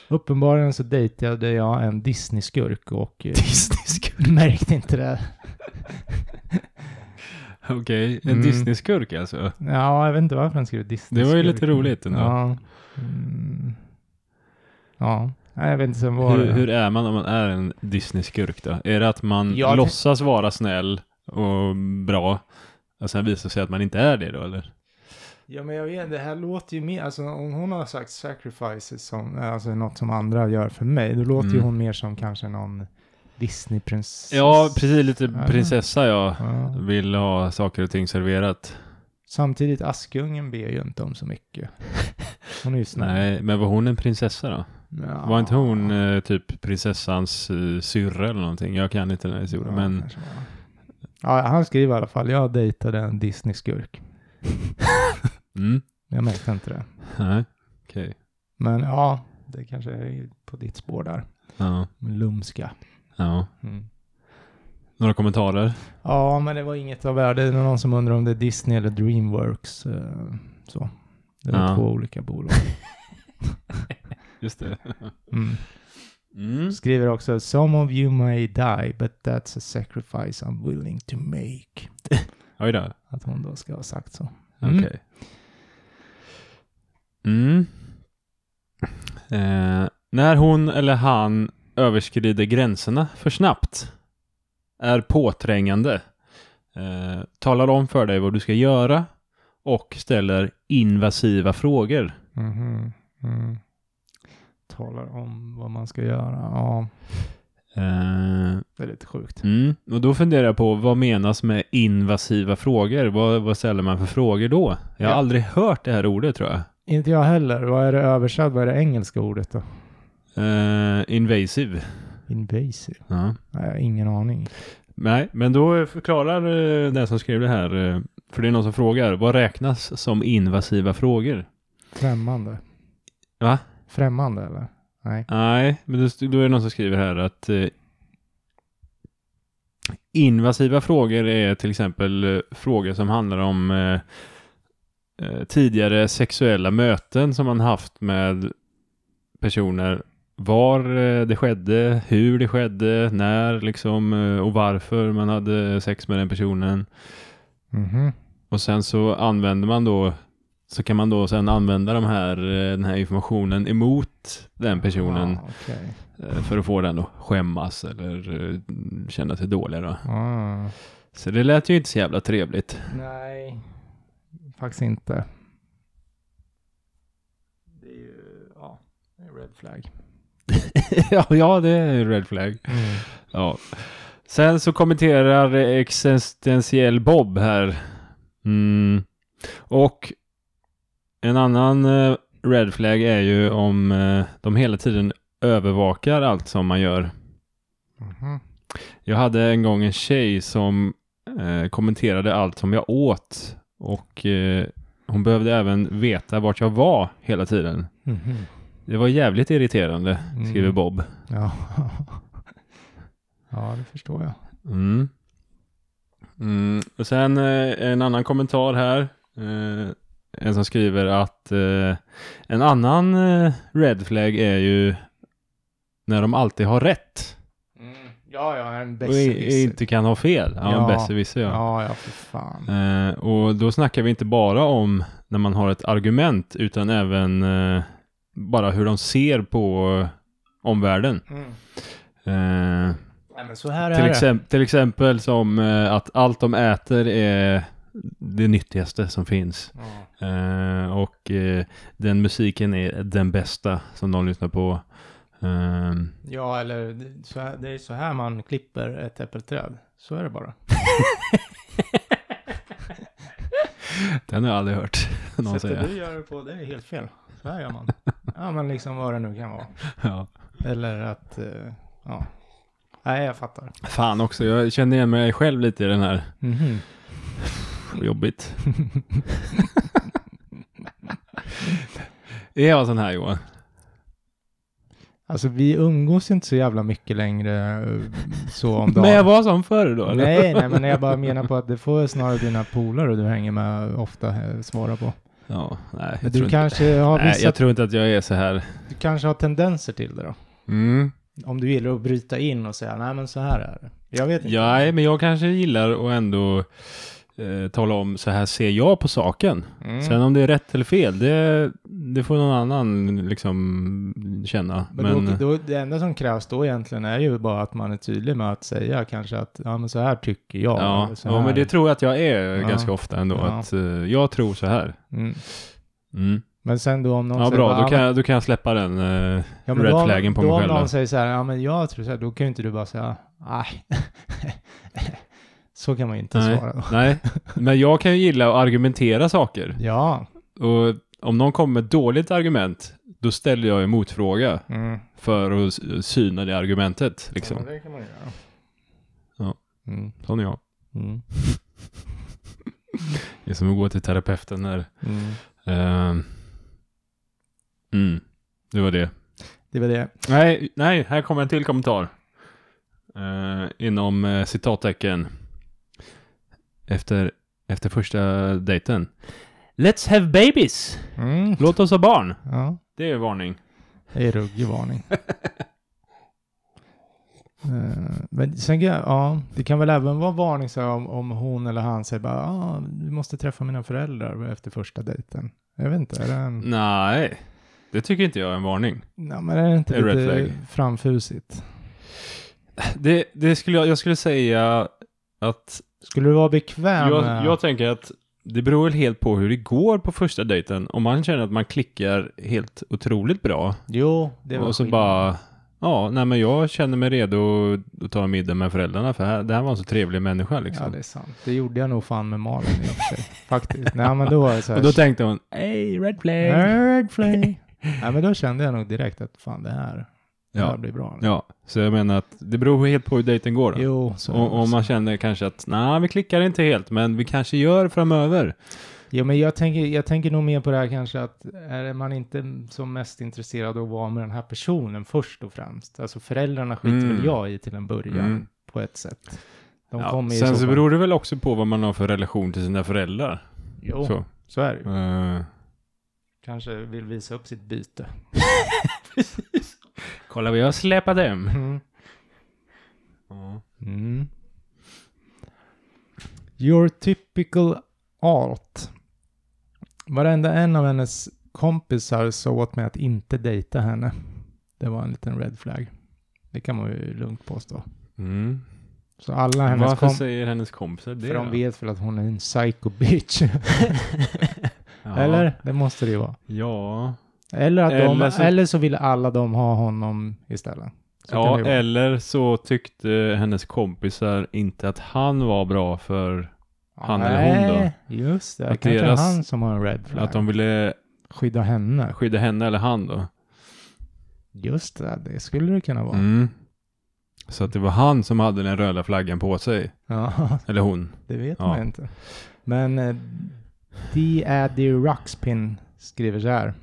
Uppenbarligen så dejtade jag en Disney-skurk och eh, Disney-skurk. märkte inte det. Okej, en Mm. Disney-skurk alltså. Ja, jag vet inte varför han skrev Disney. Det var ju lite roligt ändå. Ja. Mm. ja. Nej, jag vet inte sen var Hur, det. hur är man om man är en Disney-skurk då? Är det att man Jag- låtsas vara snäll och bra och sen visar det sig att man inte är det då eller? Ja, men jag vet, det här låter ju mer, alltså om hon har sagt sacrifices som, alltså något som andra gör för mig, då låter ju Mm. hon mer som kanske någon Disney-prinsessa. Ja, precis lite Ja. prinsessa jag Ja. vill ha saker och ting serverat. Samtidigt, Askungen ber ju inte om så mycket. Hon är ju snäll. Nej, men var hon en prinsessa då? Ja. Var inte hon eh, typ prinsessans eh, syrra eller någonting? Jag kan inte den här historien, Ja, men kanske var. Ja, han skriver i alla fall, jag dejtade en Disney-skurk. mm, Jag märkte inte det. nej, okej. Men ja, det kanske är på ditt spår där. Ja, Lumska. ja. Mm. Några kommentarer? Ja, men det var inget av värde. Det var någon som undrade om det är Disney eller Dreamworks. eh, Så. Det var Ja. två olika bolag. Just det. Mm. Mm. Skriver också, some of you may die, but that's a sacrifice I'm willing to make. Oj då. Att hon då ska ha sagt så. Okej. Mm. Eh, när hon eller han överskrider gränserna för snabbt, är påträngande, eh, talar om för dig vad du ska göra och ställer invasiva frågor. Mhm. Mm. Talar om vad man ska göra. Ja, Eh, det är lite sjukt. mm. Och då funderar jag på vad menas med invasiva frågor? Vad, vad ställer man för frågor då? Jag har Ja. aldrig hört det här ordet tror jag. Inte jag heller. Vad är det översatt? Vad är det engelska ordet då? Eh, invasive. Invasive? Ja. Nej, jag har ingen aning. Nej, men då förklarar eh, den som skrev det här, eh, för det är någon som frågar, vad räknas som invasiva frågor? Främmande. Va? Främmande eller? Nej. Nej, men då st- då är det någon som skriver här att eh, invasiva frågor är till exempel eh, frågor som handlar om eh, eh, tidigare sexuella möten som man haft med personer. Var eh, det skedde, hur det skedde, när liksom eh, och varför man hade sex med den personen. Mhm. Och sen så använder man då så kan man då sen använda de här, eh, den här informationen emot den personen Ah, Okej. eh, för att få den att skämmas eller eh, känna sig dålig då. Ah. Så det lät ju inte så jävla trevligt. Nej, faktiskt inte. Det är ju, ja, det är red flag. ja, ja, det är en red flag. Mm. Ja. Sen så kommenterar existentiell Bob här. Mm. Och en annan eh, red flag är ju om eh, de hela tiden övervakar allt som man gör. Mhm. Jag hade en gång en tjej som eh, kommenterade allt som jag åt och eh, hon behövde även veta vart jag var hela tiden. Mhm. Det var jävligt irriterande, Mm. skriver Bob. Ja. ja, det förstår jag. Mm. Mm. Och sen eh, en annan kommentar här. Eh, en som skriver att eh, en annan eh, red flag är ju när de alltid har rätt Mm. Ja, ja, en och i- besserwisser. inte kan ha fel. Ja, Ja. en besserwisser ja. Ja, ja, för fan. Eh, och då snackar vi inte bara om när man har ett argument utan även eh, bara hur de ser på eh, omvärlden. Mm. Eh, Nej, men så här till, är det. exemp- till exempel som eh, att allt de äter är det nyttigaste som finns. Ja. Eh, och eh, den musiken är den bästa som de lyssnar på. Eh, Ja, eller det- så här, det är så här man klipper ett äppelträd. Så är det bara. den har jag aldrig hört någon säga. Sättet du gör det på, det är helt fel. Så här gör man. ja, men liksom vad det nu kan vara. Ja. Eller att, eh, ja. Nej, jag fattar. Fan också, jag känner igen mig själv lite i den här. Mhm. Jobbigt. är jag sån här Johan? Alltså vi umgås inte så jävla mycket längre eh, så om dagen. Men jag var som förr då? Eller? Nej, nej, men jag bara menar på att det får snarare dina polare du hänger med ofta eh, svara på. Ja, nej. Jag, tror Du inte, kanske, har nej, vissa, jag tror inte att jag är så här. du kanske har tendenser till det då? Mm. Om du gillar att bryta in och säga nej men så här är det. Jag vet inte. Ja, nej, men jag kanske gillar att ändå eh, tala om så här ser jag på saken. Mm. Sen om det är rätt eller fel, det, det får någon annan liksom känna. men Men, Då, då, det enda som krävs då egentligen är ju bara att man är tydlig med att säga kanske att ja, men så här tycker jag. ja, eller så ja, här. men det tror jag att jag är Ja. ganska ofta ändå. Ja. Att, eh, jag tror så här. mm. Mm. Men sen då om någon Ja, säger bara, bra. Då kan, men- jag, då kan jag släppa den. eh, ja, men red då om- flaggen på då mig om själv där. någon säger så här, ja men jag tror så här, då kan ju inte du bara säga, nej. så kan man ju inte Nej. svara då. Nej, men jag kan ju gilla att argumentera saker. Ja. Och om någon kommer med ett dåligt argument, då ställer jag en motfråga Mm. för att s- syna det argumentet. Liksom. Ja, det kan man göra. Ja. Mm. Sån är jag. Mm. Det är som att gå till terapeuten när... Mm. ehm, mm, det var det. Det var det. Nej, nej, här kommer en till kommentar. Eh, inom eh, citattecken. Efter, efter första dejten. Let's have babies! Mm. Låt oss ha barn! Ja. Det är varning. Det är ruggig varning. Eh, Men sen kan, ja, det kan väl även vara varning så här, om, om hon eller han säger bara ah, du måste träffa mina föräldrar efter första dejten. Jag vet inte, är det, Mm. en, Nej, det tycker inte jag är en varning. nej, men är det inte Det är red lite framfusigt? Det, det skulle jag, jag skulle säga att Skulle du vara bekväm jag, med- jag tänker att det beror väl helt på hur det går på första dejten. Om man känner att man klickar helt otroligt bra Jo, det var och så skillnad. bara, ja, nej men jag känner mig redo att ta en middag med föräldrarna för här, det här var en så trevlig människa Ja, liksom. det är sant. Det gjorde jag nog fan med Malin i och för sig. Faktiskt. Nej, men då var det så här. och då tänkte hon, hey red flag. Red flag. Nej, men då kände jag nog direkt att fan det här, det här Ja, blir bra. ja, så jag menar att det beror helt på hur dejten går. Då. Jo, så Och om man känner kanske att nej, vi klickar inte helt, men vi kanske gör framöver. Ja, men jag tänker, jag tänker nog mer på det här kanske att är man inte som mest intresserad av att vara med den här personen först och främst. Alltså föräldrarna skiter Mm. väl jag i till en början Mm. på ett sätt. De Ja, kommer ju sen i så, så fall- beror det väl också på vad man har för relation till sina föräldrar. Jo, så. Så. är det ju. eh, Kanske vill visa upp sitt byte. Kolla vad jag släpar dem. Mm. Mm. Your typical art. Varenda en av hennes kompisar sa åt mig att inte dejta henne. Det var en liten red flag. Det kan man ju lugnt påstå. Mm. Så alla hennes Varför kompisar, säger hennes kompisar det? för de då? vet väl att hon är en psycho bitch. Ja. Eller? Det måste det ju vara. Ja. Eller, att Eller de, så- eller så ville alla de ha honom istället. Så kan ja, det ju vara. eller så tyckte hennes kompisar inte att han var bra för han eller hon då? Nej, Just det. Att Kanske deras- han som har en red flag. att de ville Skydda henne. skydda henne eller han då. Just det, det skulle det kunna vara. Mm. Så att det var han som hade den röda flaggan på sig. Ja, Eller hon. det vet Ja. man inte. Men eh, The Addy Ruxpin skriver så här.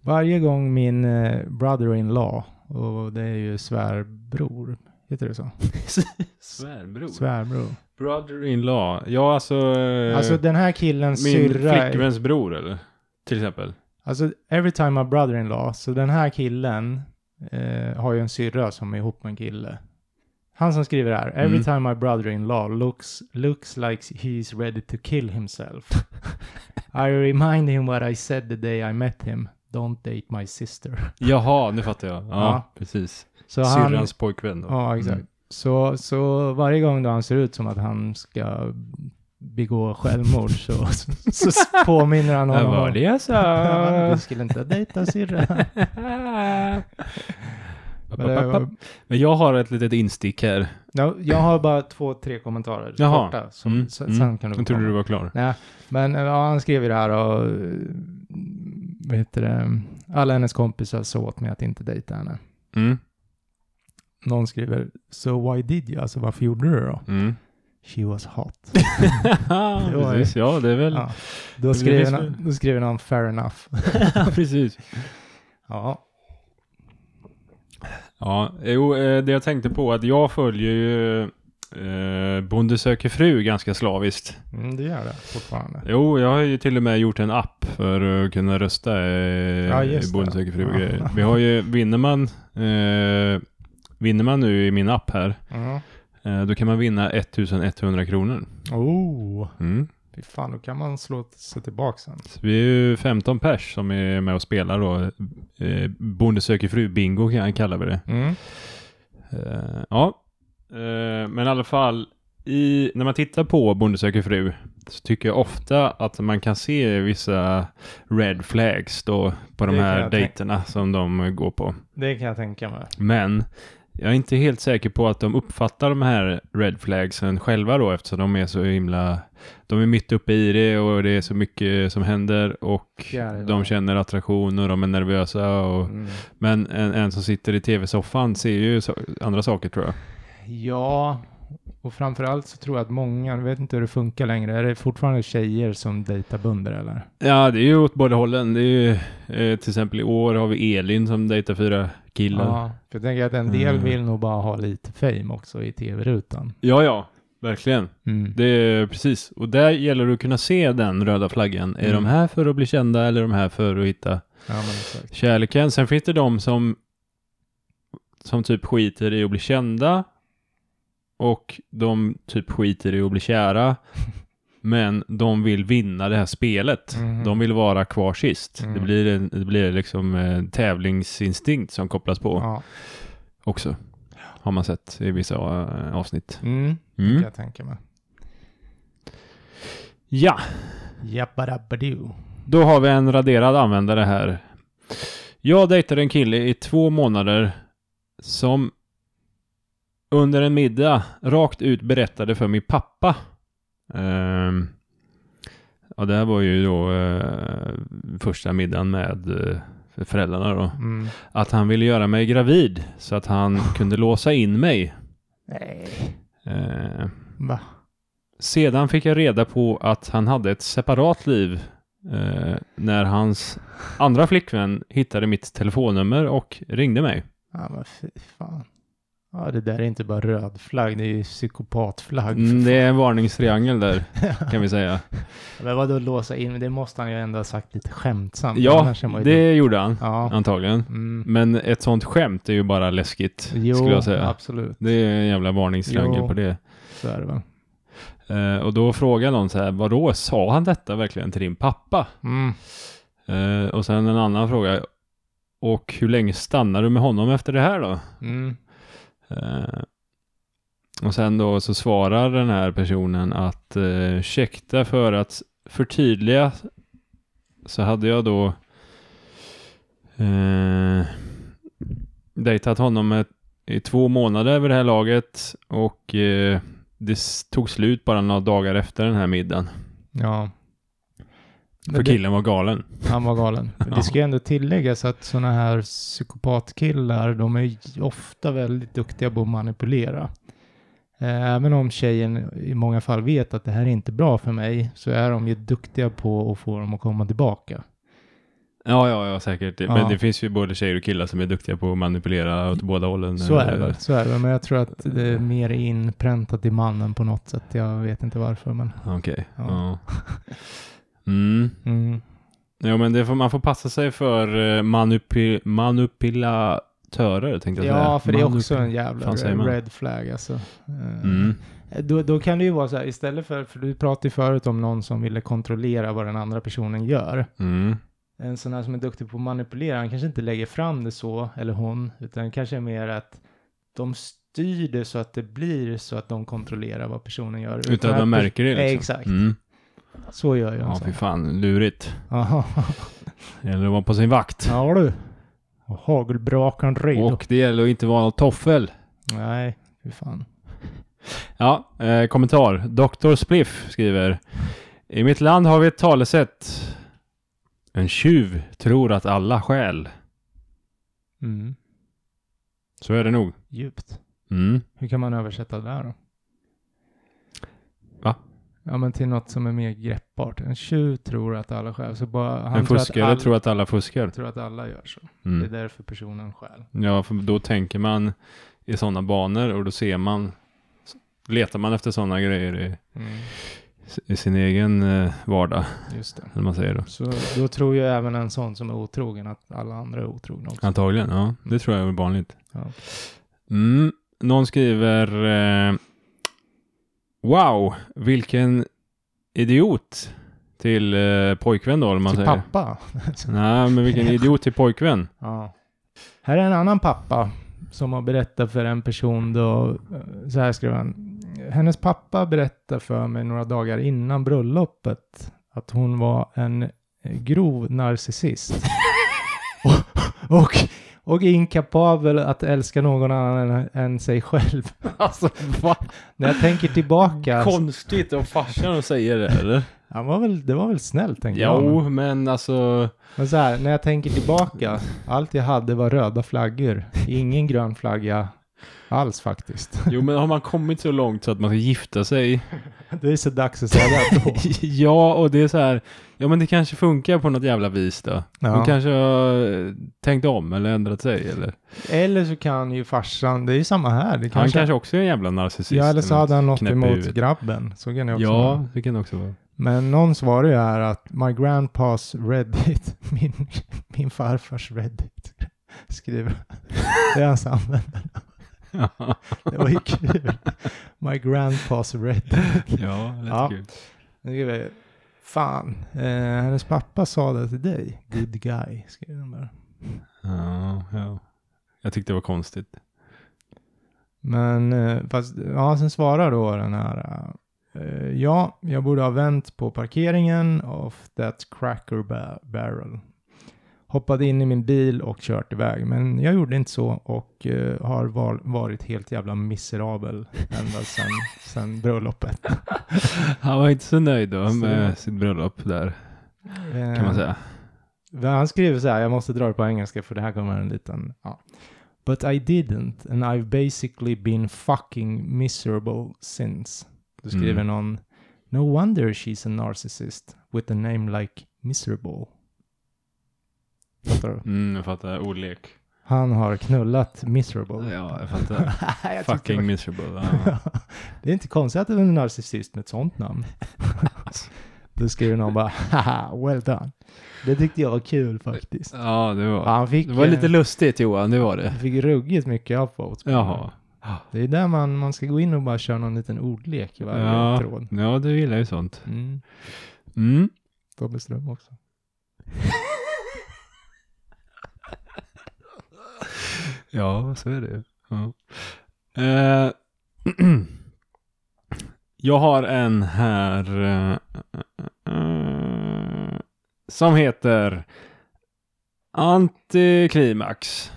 Varje gång min eh, brother-in-law, och det är ju svärbror, heter det så? Svärbror? Svärbror. Brother-in-law. Ja, alltså... eh, Alltså den här killens Min syrra. är- flickväns bror eller? Till exempel. Alltså every time my brother-in-law, så den här killen eh, har ju en syrra som är ihop med en kille. Han som skriver här, every Mm. time my brother-in-law looks, looks like he's ready to kill himself. I remind him what I said the day I met him. Don't date my sister. Jaha, nu fattar jag. Ja, Ja. precis. Så han, Syrrans pojkvän då. Ja, exakt. Mm. Så, så varje gång då han ser ut som att han ska begå självmord så, så, så påminner han Det honom var om... det jag Du sa. skulle inte dejta syrran. Men det var- Men jag har ett litet instick här. Ja, jag har bara två, tre kommentarer. Jaha. Korta, som, Mm, sen, mm. sen kan du Jag trodde komma. du var klar. Nej, men eh, ja, han skrev ju det här och... eh, Vad heter det? Alla hennes kompisar sa åt mig att inte dejta henne. Mm. Någon skriver, so why did you? Alltså varför gjorde du det då? Mm. She was hot. Det var precis, ja det är väl... Ja. Då Det skriver, finns någon, väl- då skriver någon, fair enough. precis. Ja. Ja, jo, eh, det jag tänkte på att jag följer ju eh, Bonde söker fru ganska slaviskt. Mm, det gör det fortfarande. Jo, jag har ju till och med gjort en app för att kunna rösta eh, Ja, i just det. Bonde söker fru och Ja. grejer. Vi har ju, vinner man, eh, vinner man nu i min app här, Mm. eh, Eh, Då kan man vinna 1100 kronor. Oh, Mm. fy fan, då kan man slå sig tillbaka sen. Så vi är ju 15 pers som är med och spelar då. Eh, Bonde söker fru bingo kan- kallar vi det. Mm. Eh, ja, Eh, men i alla fall i, när man tittar på Bonde söker fru så tycker jag ofta att man kan se vissa red flags då på de Det kan här jag tänka- dejterna som de går på. Det kan jag tänka mig. Men jag är inte helt säker på att de uppfattar de här red flagsen själva då eftersom de är så himla, de är mitt uppe i det och det är så mycket som händer och Fjärilar. de känner attraktion och de är nervösa. Och, Mm. Men en, en som sitter i tv-soffan ser ju så, andra saker tror jag. Ja, och framförallt så tror jag att många, jag vet inte hur det funkar längre, är det fortfarande tjejer som dejtar bönder eller? Ja, det är ju åt båda hållen. Det är ju, eh, till exempel i år har vi Elin som dejtar fyra killar. Ja, Ja, för jag tänker att en del Mm. vill nog bara ha lite fame också i tv-rutan. ja, verkligen. Mm. Det är precis. Och där gäller det att kunna se den röda flaggan. Är Mm. de här för att bli kända eller är de här för att hitta Ja, men exakt. kärleken? Sen finns det de som, som typ skiter i att bli kända och de typ skiter i att bli kära. Men de vill vinna det här spelet. Mhm. Mm. De vill vara kvar sist. Mm. Det, blir en, det blir liksom en tävlingsinstinkt som kopplas på Ja. också. Har man sett i vissa eh, avsnitt. Mm. Mm. Kan jag tänka mig. Ja, Jabbarabbadoo. då har vi en raderad användare här. Jag dejtade en kille i två månader som under en middag rakt ut berättade för min pappa. Ehm, ja, det här var ju då eh, första middagen med eh, föräldrarna då. Mm. att han ville göra mig gravid så att han kunde låsa in mig. Nej. Eh, Va? sedan fick jag reda på att han hade ett separat liv eh, när hans andra flickvän hittade mitt telefonnummer och ringde mig. Ja, men fy fan. Ja, det där är inte bara röd flagg, det är ju psykopatflagg. Mm, det är en varningstriangel där kan vi säga. Men vadå låsa in? Men Det måste han ju ändå ha sagt lite skämtsamt. Ja, annars är man ju dum. det gjorde han Ja. antagligen. Mm. Men ett sånt skämt är ju bara läskigt skulle Jo, jag säga. absolut. Det är en jävla varningstriangel Jo. på det. Så är det väl. Eh, och då frågar någon så här, vadå, sa han detta verkligen till din pappa? Mm. Eh, och sen en annan fråga. Och hur länge stannar du med honom efter det här då? Mm. Eh, och sen då så svarar den här personen att eh, ursäkta för att förtydliga så hade jag då eh, dejtat honom ett, i två månader vid det här laget och eh, det s- tog slut bara några dagar efter den här middagen. Ja. För Men det- killen var galen. Han var galen. Men Ja. Det ska ju ändå tilläggas att sådana här psykopatkillar, de är ju ofta väldigt duktiga på att manipulera. Eh, Även om tjejen i många fall vet att det här är inte bra för mig, så är de ju duktiga på att få dem att komma tillbaka. Ja, ja, ja säkert. Men Ja. Mm. det finns ju både tjejer och killar som är duktiga på att manipulera åt båda hållen. Så är det väl, så är det väl. Men jag tror att det är mer inpräntat i mannen på något sätt. Jag vet inte varför, men... Okej. Ja. Ja. Mm. Mm. Jo, men det får, man får passa sig för eh, manupi, manipulatörer, tänkte jag säga. Ja, för det är Manupi- också en jävla fan säger man? red flag alltså. Eh, Mm. Då, då kan det ju vara så här, istället för, för du pratade ju förut om någon som ville kontrollera vad den andra personen gör. Mm. En sån här som är duktig på att manipulera, han kanske inte lägger fram det så, eller hon, utan kanske är mer att de styr det så att det blir så att de kontrollerar vad personen gör. Utan att man pers- märker det liksom. Eh, Exakt, Mm. så gör ju en Ja, sån. fy fan, lurigt. Jaha, Det gäller att vara på sin vakt. ja du. Och hagelbrakaren redo. och det gäller att inte vara någon toffel. Nej, fy fan. Ja, eh, kommentar. Dr. Spliff skriver. I mitt land har vi ett talesätt. En tjuv tror att alla stjäl. Mm. Så är det nog. Djupt. Mm. Hur kan man översätta det där då? Va? Ja, men till något som är mer greppbart. En tjuv tror att alla stjäl. Så bara, han en fuskare tror att, all, tror att alla fuskar. tror att alla gör så. Mm. Det är därför personen stjäl. Ja, för då tänker man i sådana banor och då ser man, letar man efter sådana grejer i, Mm. i sin egen eh, vardag, Just det. eller man säger då. Så då tror ju även en sån som är otrogen att alla andra är otrogna också. Antagligen, ja. Det tror jag är vanligt. Ja. Mm. Någon skriver, eh, Wow, vilken idiot till eh, pojkvän då, om man Till säger. pappa. Nej, men vilken idiot till pojkvän. Ja. Här är en annan pappa som har berättat för en person då, eh, så här skrev han. Hennes pappa berättade för mig några dagar innan bröllopet att hon var en eh, grov narcissist. och, och, och inkapabel att älska någon annan än, än sig själv. Alltså, vad När jag tänker tillbaka. konstigt om farsan säger det, eller? Han var väl, det var väl snällt tänker jag. men- Jo, men alltså... Men så här, när jag tänker tillbaka, allt jag hade var röda flaggor. Ingen grön flagga alls faktiskt. Jo, men har man kommit så långt så att man ska gifta sig? Det är så dags att säga det då. ja, och det är så här... Ja, men det kanske funkar på något jävla vis då. Hon Ja. kanske har eh, tänkt om eller ändrat sig, eller? Eller så kan ju farsan, det är ju samma här. Det Han kanske, kanske också är en jävla narcissist. ja, eller så hade han något knäpp i emot huvudet. grabben. Så kan det också vara. Ja, det kan det också vara. Men någon svarar ju här att my grandpas Reddit, min, min farfars Reddit, skriver. Det är hans användare. Det var ju kul. My grandpas Reddit. ja, lite Ja. kul. Nu ska vi, fan, eh, hennes pappa sa det till dig. Good guy, skrev de där. Ja, ja. Jag tyckte det var konstigt. Men eh, fast, ja, sen svarar då den här. Eh, ja, jag borde ha vänt på parkeringen of that cracker ba- barrel. Hoppade in i min bil och kört iväg. Men jag gjorde inte så och eh, har val- varit helt jävla miserabel ända sen, sen bröllopet. Han var inte så nöjd då Så- med sitt bröllop där, kan man Eh, säga. Men Han skriver så här, jag måste dra det på engelska för det här kommer en liten, ja. But I didn't and I've basically been fucking miserable since. Då skriver Mm. någon, No wonder she's a narcissist with a name like miserable. Fattar du? Mm, jag fattar. Ordlek. Han har knullat miserable. Ja, jag fattar. Jag tyckte Fucking det miserable. var- Ja. det är inte konstigt att det är en narcissist med ett sånt namn. Då skriver någon bara, haha, well done. Det tyckte jag var kul faktiskt. ja, det Ja, var... Han fick, Det var eh, lite lustigt Johan, det var det. Jag fick ruggigt mycket upvotes. på Jaha. Det är där man, man ska gå in och bara köra någon liten ordlek i varje Ja. tråd. Ja, du gillar ju sånt. Mm. Mm. Tobbe Ström också. Ja, så är det ju. Ja. Eh, jag har en här eh, eh, eh, som heter Antiklimax.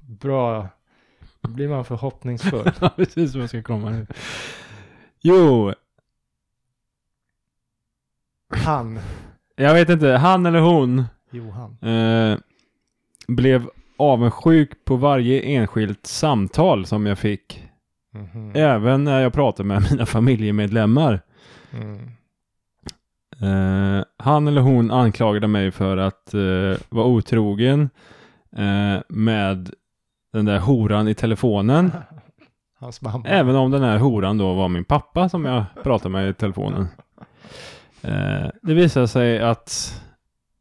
Bra. Då blir man förhoppningsfull. Ja, Precis som jag ska komma nu. Jo, Han. jag vet inte. Han eller hon Johan. eh, blev avundsjuk på varje enskilt samtal som jag fick. Mhm. Även när jag pratade med mina familjemedlemmar. Mm. Eh, han eller hon anklagade mig för att eh, vara otrogen eh, med den där horan i telefonen. Hans mamma. Även om den här horan då var min pappa som jag pratade med i telefonen. Eh, det visade sig att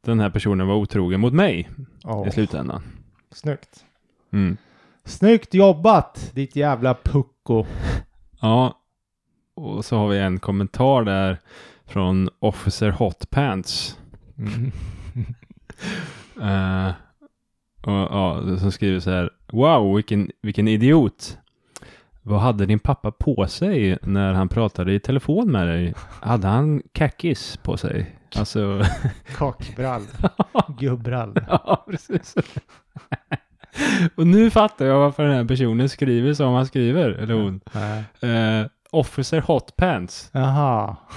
den här personen var otrogen mot mig Åh, i slutändan. Snyggt. Mm. Snyggt jobbat, ditt jävla pucko. Ja, och så har vi en kommentar där från Officer Hot Pants. Mm. Eh, och, ja, som skriver så här. Wow, vilken, vilken idiot. Vad hade din pappa på sig när han pratade i telefon med dig? Hade han kackis på sig? Alltså, Kockbrall. Gubbrall. ja precis. och nu fattar jag varför den här personen skriver som han skriver, eller hon. Nej. Eh, officer Hot Pants. Jaha.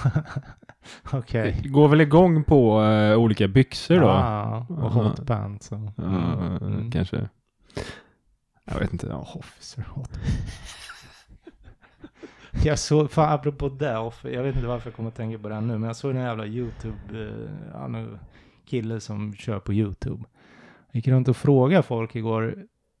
Okej. Går väl igång på eh, olika byxor då? Ah, och hotband. Så. Ja, Mm. Kanske. Jag vet inte. Ja, Officer Hot. jag såg, fan apropå det, off- jag vet inte varför jag kommer att tänka på det här nu, men jag såg den här jävla YouTube, eh, ja, nu, kille som kör på YouTube. Jag gick runt och frågade folk igår,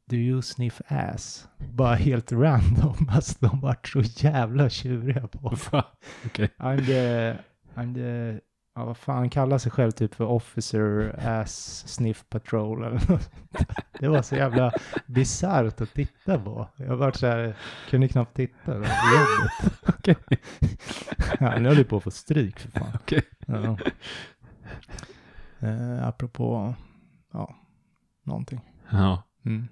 do you sniff ass? Bara helt random, alltså de vart så jävla tjuriga på. Fan, okej. I'm the, I'm the ja, vad fan, han kallar sig själv typ för Officer Ass Sniff Patrol eller något. Det var så jävla bisarrt att titta på. Jag var så här, kunde knappt titta. Det var så jobbigt. Okej. Ja, nu höll jag på att få stryk för fan. Okej. Ja. Eh, apropå, ja, någonting. Ja. Mm.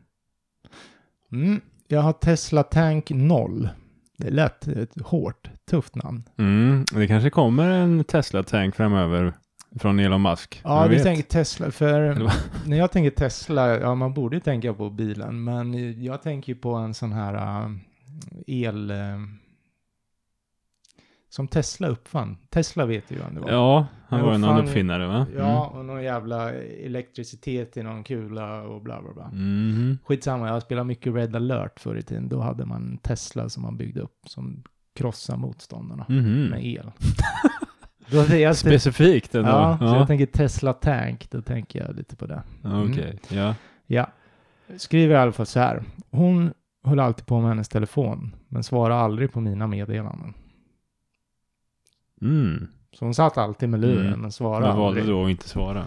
Mm. Jag har Tesla Tank 0. Det lät ett hårt, tufft namn. Mm, det kanske kommer en Tesla-tank framöver från Elon Musk. Ja, Vem vi vet? tänker Tesla, för Eller vad? när jag tänker Tesla, ja man borde ju tänka på bilen, men jag tänker ju på en sån här äh, el... äh, som Tesla uppfann. Tesla vet ju vem det var. Ja, Mm. han Men var vad en fan- uppfinnare va? Ja, och någon jävla elektricitet i någon kula och bla bla bla. Mm. Mhm. Skitsamma, jag spelade mycket Red alert förr i tiden. Då hade man en Tesla som man byggde upp som krossade motståndarna Mhm. med el. Mm. Då det jag Specifikt ändå. ja, så ja. jag tänker Tesla Tank, då tänker jag lite på det. Okej, Mm. ja. Ja. Skriver i alla fall så här. Hon höll alltid på med hennes telefon, men svarade aldrig på mina meddelanden. Mm. Så hon satt alltid med luren Mm. och svarade Jag valde aldrig. då att inte svara.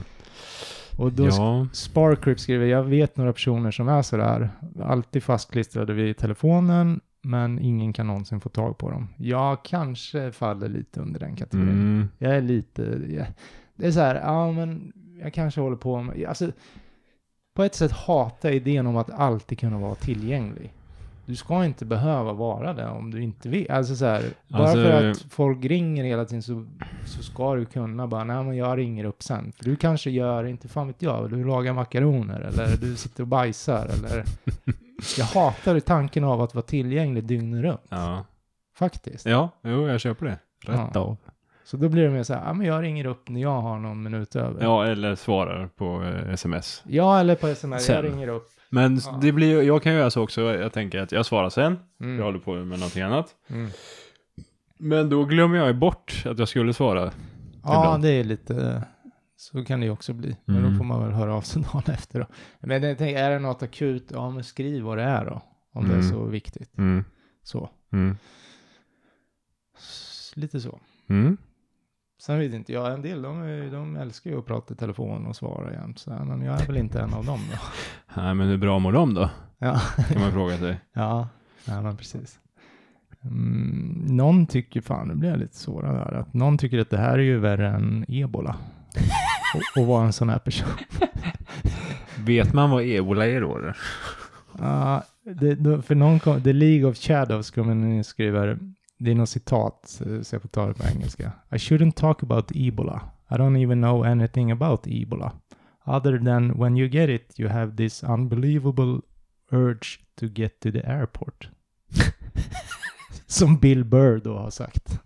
Och då ja. Sparkrip skriver, jag vet några personer som är sådär, alltid fastklistrade vid telefonen, men ingen kan någonsin få tag på dem. Jag kanske faller lite under den kategorin. Mm. Jag är lite, jag, det är så här, ja men jag kanske håller på med, alltså på ett sätt hatar jag idén om att alltid kunna vara tillgänglig. Du ska inte behöva vara det om du inte vill. Alltså så här, bara Alltså- för att folk ringer hela tiden så, så ska du kunna bara, nej men jag ringer upp sen. För du kanske gör, inte fan vet jag, du lagar makaroner eller du sitter och bajsar eller... Jag hatar tanken av att vara tillgänglig dygnet runt, Ja. faktiskt. ja, jo jag köper det. Rätt Ja. av. Så då blir det mer så här, ja men jag ringer upp när jag har någon minut över. Ja, eller svarar på eh, sms. Ja, eller på sms. Sen. Jag ringer upp. Men Ja. det blir, ju- jag kan ju göra så också, jag tänker att jag svarar sen, Mm. jag håller på med någonting annat. Mm. Men då glömmer jag ju bort att jag skulle svara. Ja, ibland. det är lite... Så kan det ju också bli. Men Mm. då får man väl höra av sig dagen efter då. Men jag tänker, är det något akut, ja men skriv vad det är då. Om det är Mm. så viktigt. Mm. Så. Mm. S- Lite så. Mm. Sen vet inte jag, en del de, är- de älskar ju att prata i telefon och svara jämt. Så, här, men jag är väl inte en av dem då. Nej, men hur bra mår de då? Ja, Kan man fråga sig. ja. Nej, men precis. Mm, någon tycker, fan nu blir jag lite sårad här, att någon tycker att det här är ju värre än ebola. Och, och vara en sån här person. Vet man vad ebola är då? eller? Ja, det, då- för någon kom, The League of Shadows kommer ni skriver, det är något citat, eh, så jag får ta det på engelska. I shouldn't talk about Ebola. I don't even know anything about Ebola. Other than when you get it you have this unbelievable urge to get to the airport. Som Bill Burr då har sagt.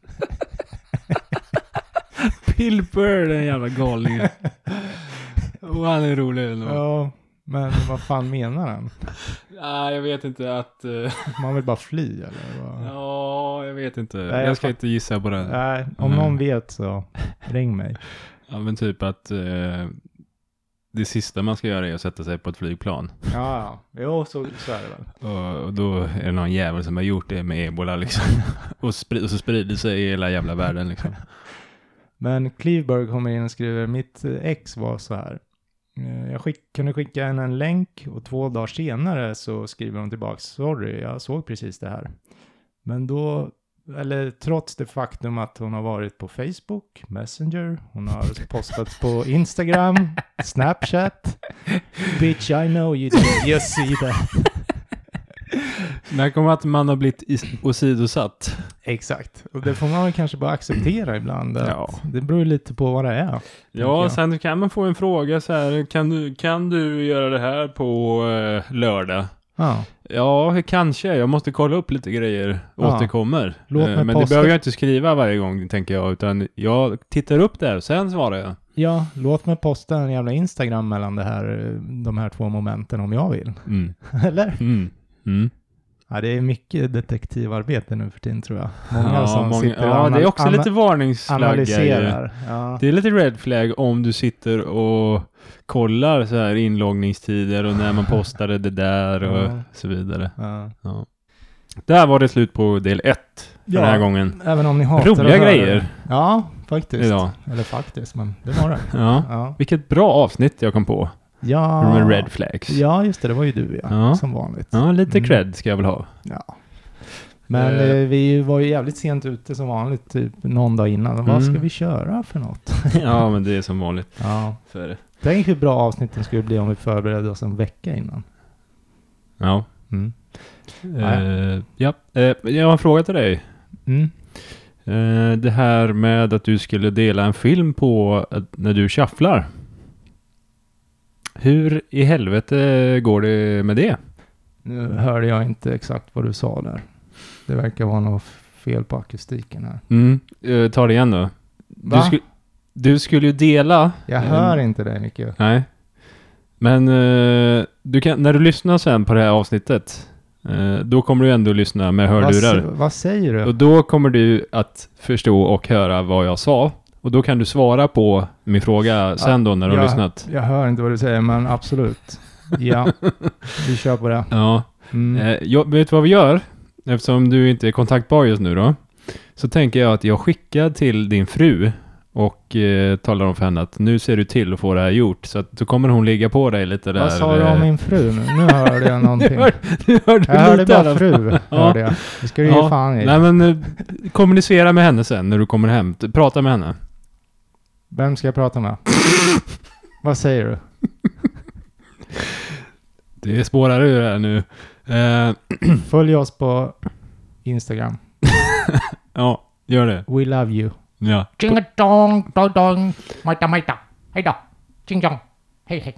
Bill Burr, den jävla galningen. Och han är rolig ändå. Ja, men vad fan menar han? Nej, jag vet inte att... eh, Man vill bara fly eller? Vad? Ja, jag vet inte. jag jag ska fa- inte gissa på det. Nej, om Mm. någon vet så ring mig. Ja, men typ att eh, det sista man ska göra är att sätta sig på ett flygplan. Ja, ja. Jo, så, så är det väl. Och, och då är det någon jävel som har gjort det med ebola liksom. och, spri- och så sprider sig i hela jävla världen liksom. Men Cleveberg kommer in och skriver, mitt eh, ex var så här. Eh, Jag skick, kunde skicka henne en länk och två dagar senare så skriver hon tillbaka, sorry, jag såg precis det här. Men då, eller trots det faktum att hon har varit på Facebook, Messenger, hon har postat på Instagram, Snapchat. Bitch, I know you did, you see that. När kommer att man har blivit is- åsidosatt? Exakt, och det får man väl kanske bara acceptera ibland. Att Ja. Det beror ju lite på vad det är. Ja, jag. sen kan man få en fråga så här. Kan du, kan du göra det här på eh, lördag? Ja. Ja, kanske. Jag måste kolla upp lite grejer. Ja. Återkommer. Låt Eh, mig Men det posta- behöver jag inte skriva varje gång, tänker jag. Utan jag tittar upp där, sen svarar jag. Ja, låt mig posta en jävla Instagram mellan det här, de här två momenten om jag vill. Mm. Eller? Mm. Mm. Ja, det är mycket detektivarbete nu för tiden tror jag. Många som många- sitter och ja, det är ana- också ana- lite varningsflagga. i- analyserar. Ja. Det är lite red flag om du sitter och kollar så här inloggningstider och när man postade det där och Ja. så vidare. Ja. Där var det slut på del ett för Ja. den här gången. Även om ni hatar Roliga att höra grejer. det. Ja, faktiskt. idag. Eller faktiskt, men det var det. Ja. Ja, Vilket bra avsnitt jag kom på. ja. Med Red Flags. ja just det. Det var ju du ja, Ja. som vanligt. Ja, lite Mm. cred ska jag väl ha. Ja. Men Eh. eh, vi var ju jävligt sent ute som vanligt, typ någon dag innan. Vad Mm. ska vi köra för något? Ja, men det är som vanligt. Ja. För, Tänk hur bra avsnitten skulle bli om vi förberedde oss en vecka innan. ja. Mm. Ja. Eh, ja. Eh, jag har en fråga till dig. Mm. Eh, det här med att du skulle dela en film på att- när du shufflar. Hur i helvete går det med det? Nu hörde jag inte exakt vad du sa där. Det verkar vara något fel på akustiken här. Mm. Eh, ta det igen då. Du, Va? sku, du skulle ju dela. Jag Mm. hör inte dig Nicke. Nej. Men eh, du kan, när du lyssnar sen på det här avsnittet, eh, då kommer du ändå lyssna med Vad, hörlurar. s- vad säger Och du? då kommer du att förstå och höra vad jag sa. Och då kan du svara på min fråga sen då när du har ja. lyssnat. Jag hör inte vad du säger, men absolut. Ja, vi kör på det. Ja. Mm. Eh, jag, vet du vad vi gör? Eftersom du inte är kontaktbar just nu då. Så tänker jag att jag skickar till din fru och eh, talar om för henne att nu ser du till att få det här gjort. Så att då kommer hon ligga på dig lite där. Vad sa du om eh, min fru nu? Nu hörde jag nu någonting. hör, nu hör du Jag hörde lite bara annat. fru, Ja. hörde jag. Det ska du Ja. ge fan i. Nej men eh, kommunicera med henne sen när du kommer hem. T- Prata med henne. Vem ska jag prata med? Vad säger du? Det spårar ur här nu. Eh, Följ oss på Instagram. ja, gör det. We love you. Ja. Ching a dong, dong dong, maita maita. Hey da, ching dong, hey hey.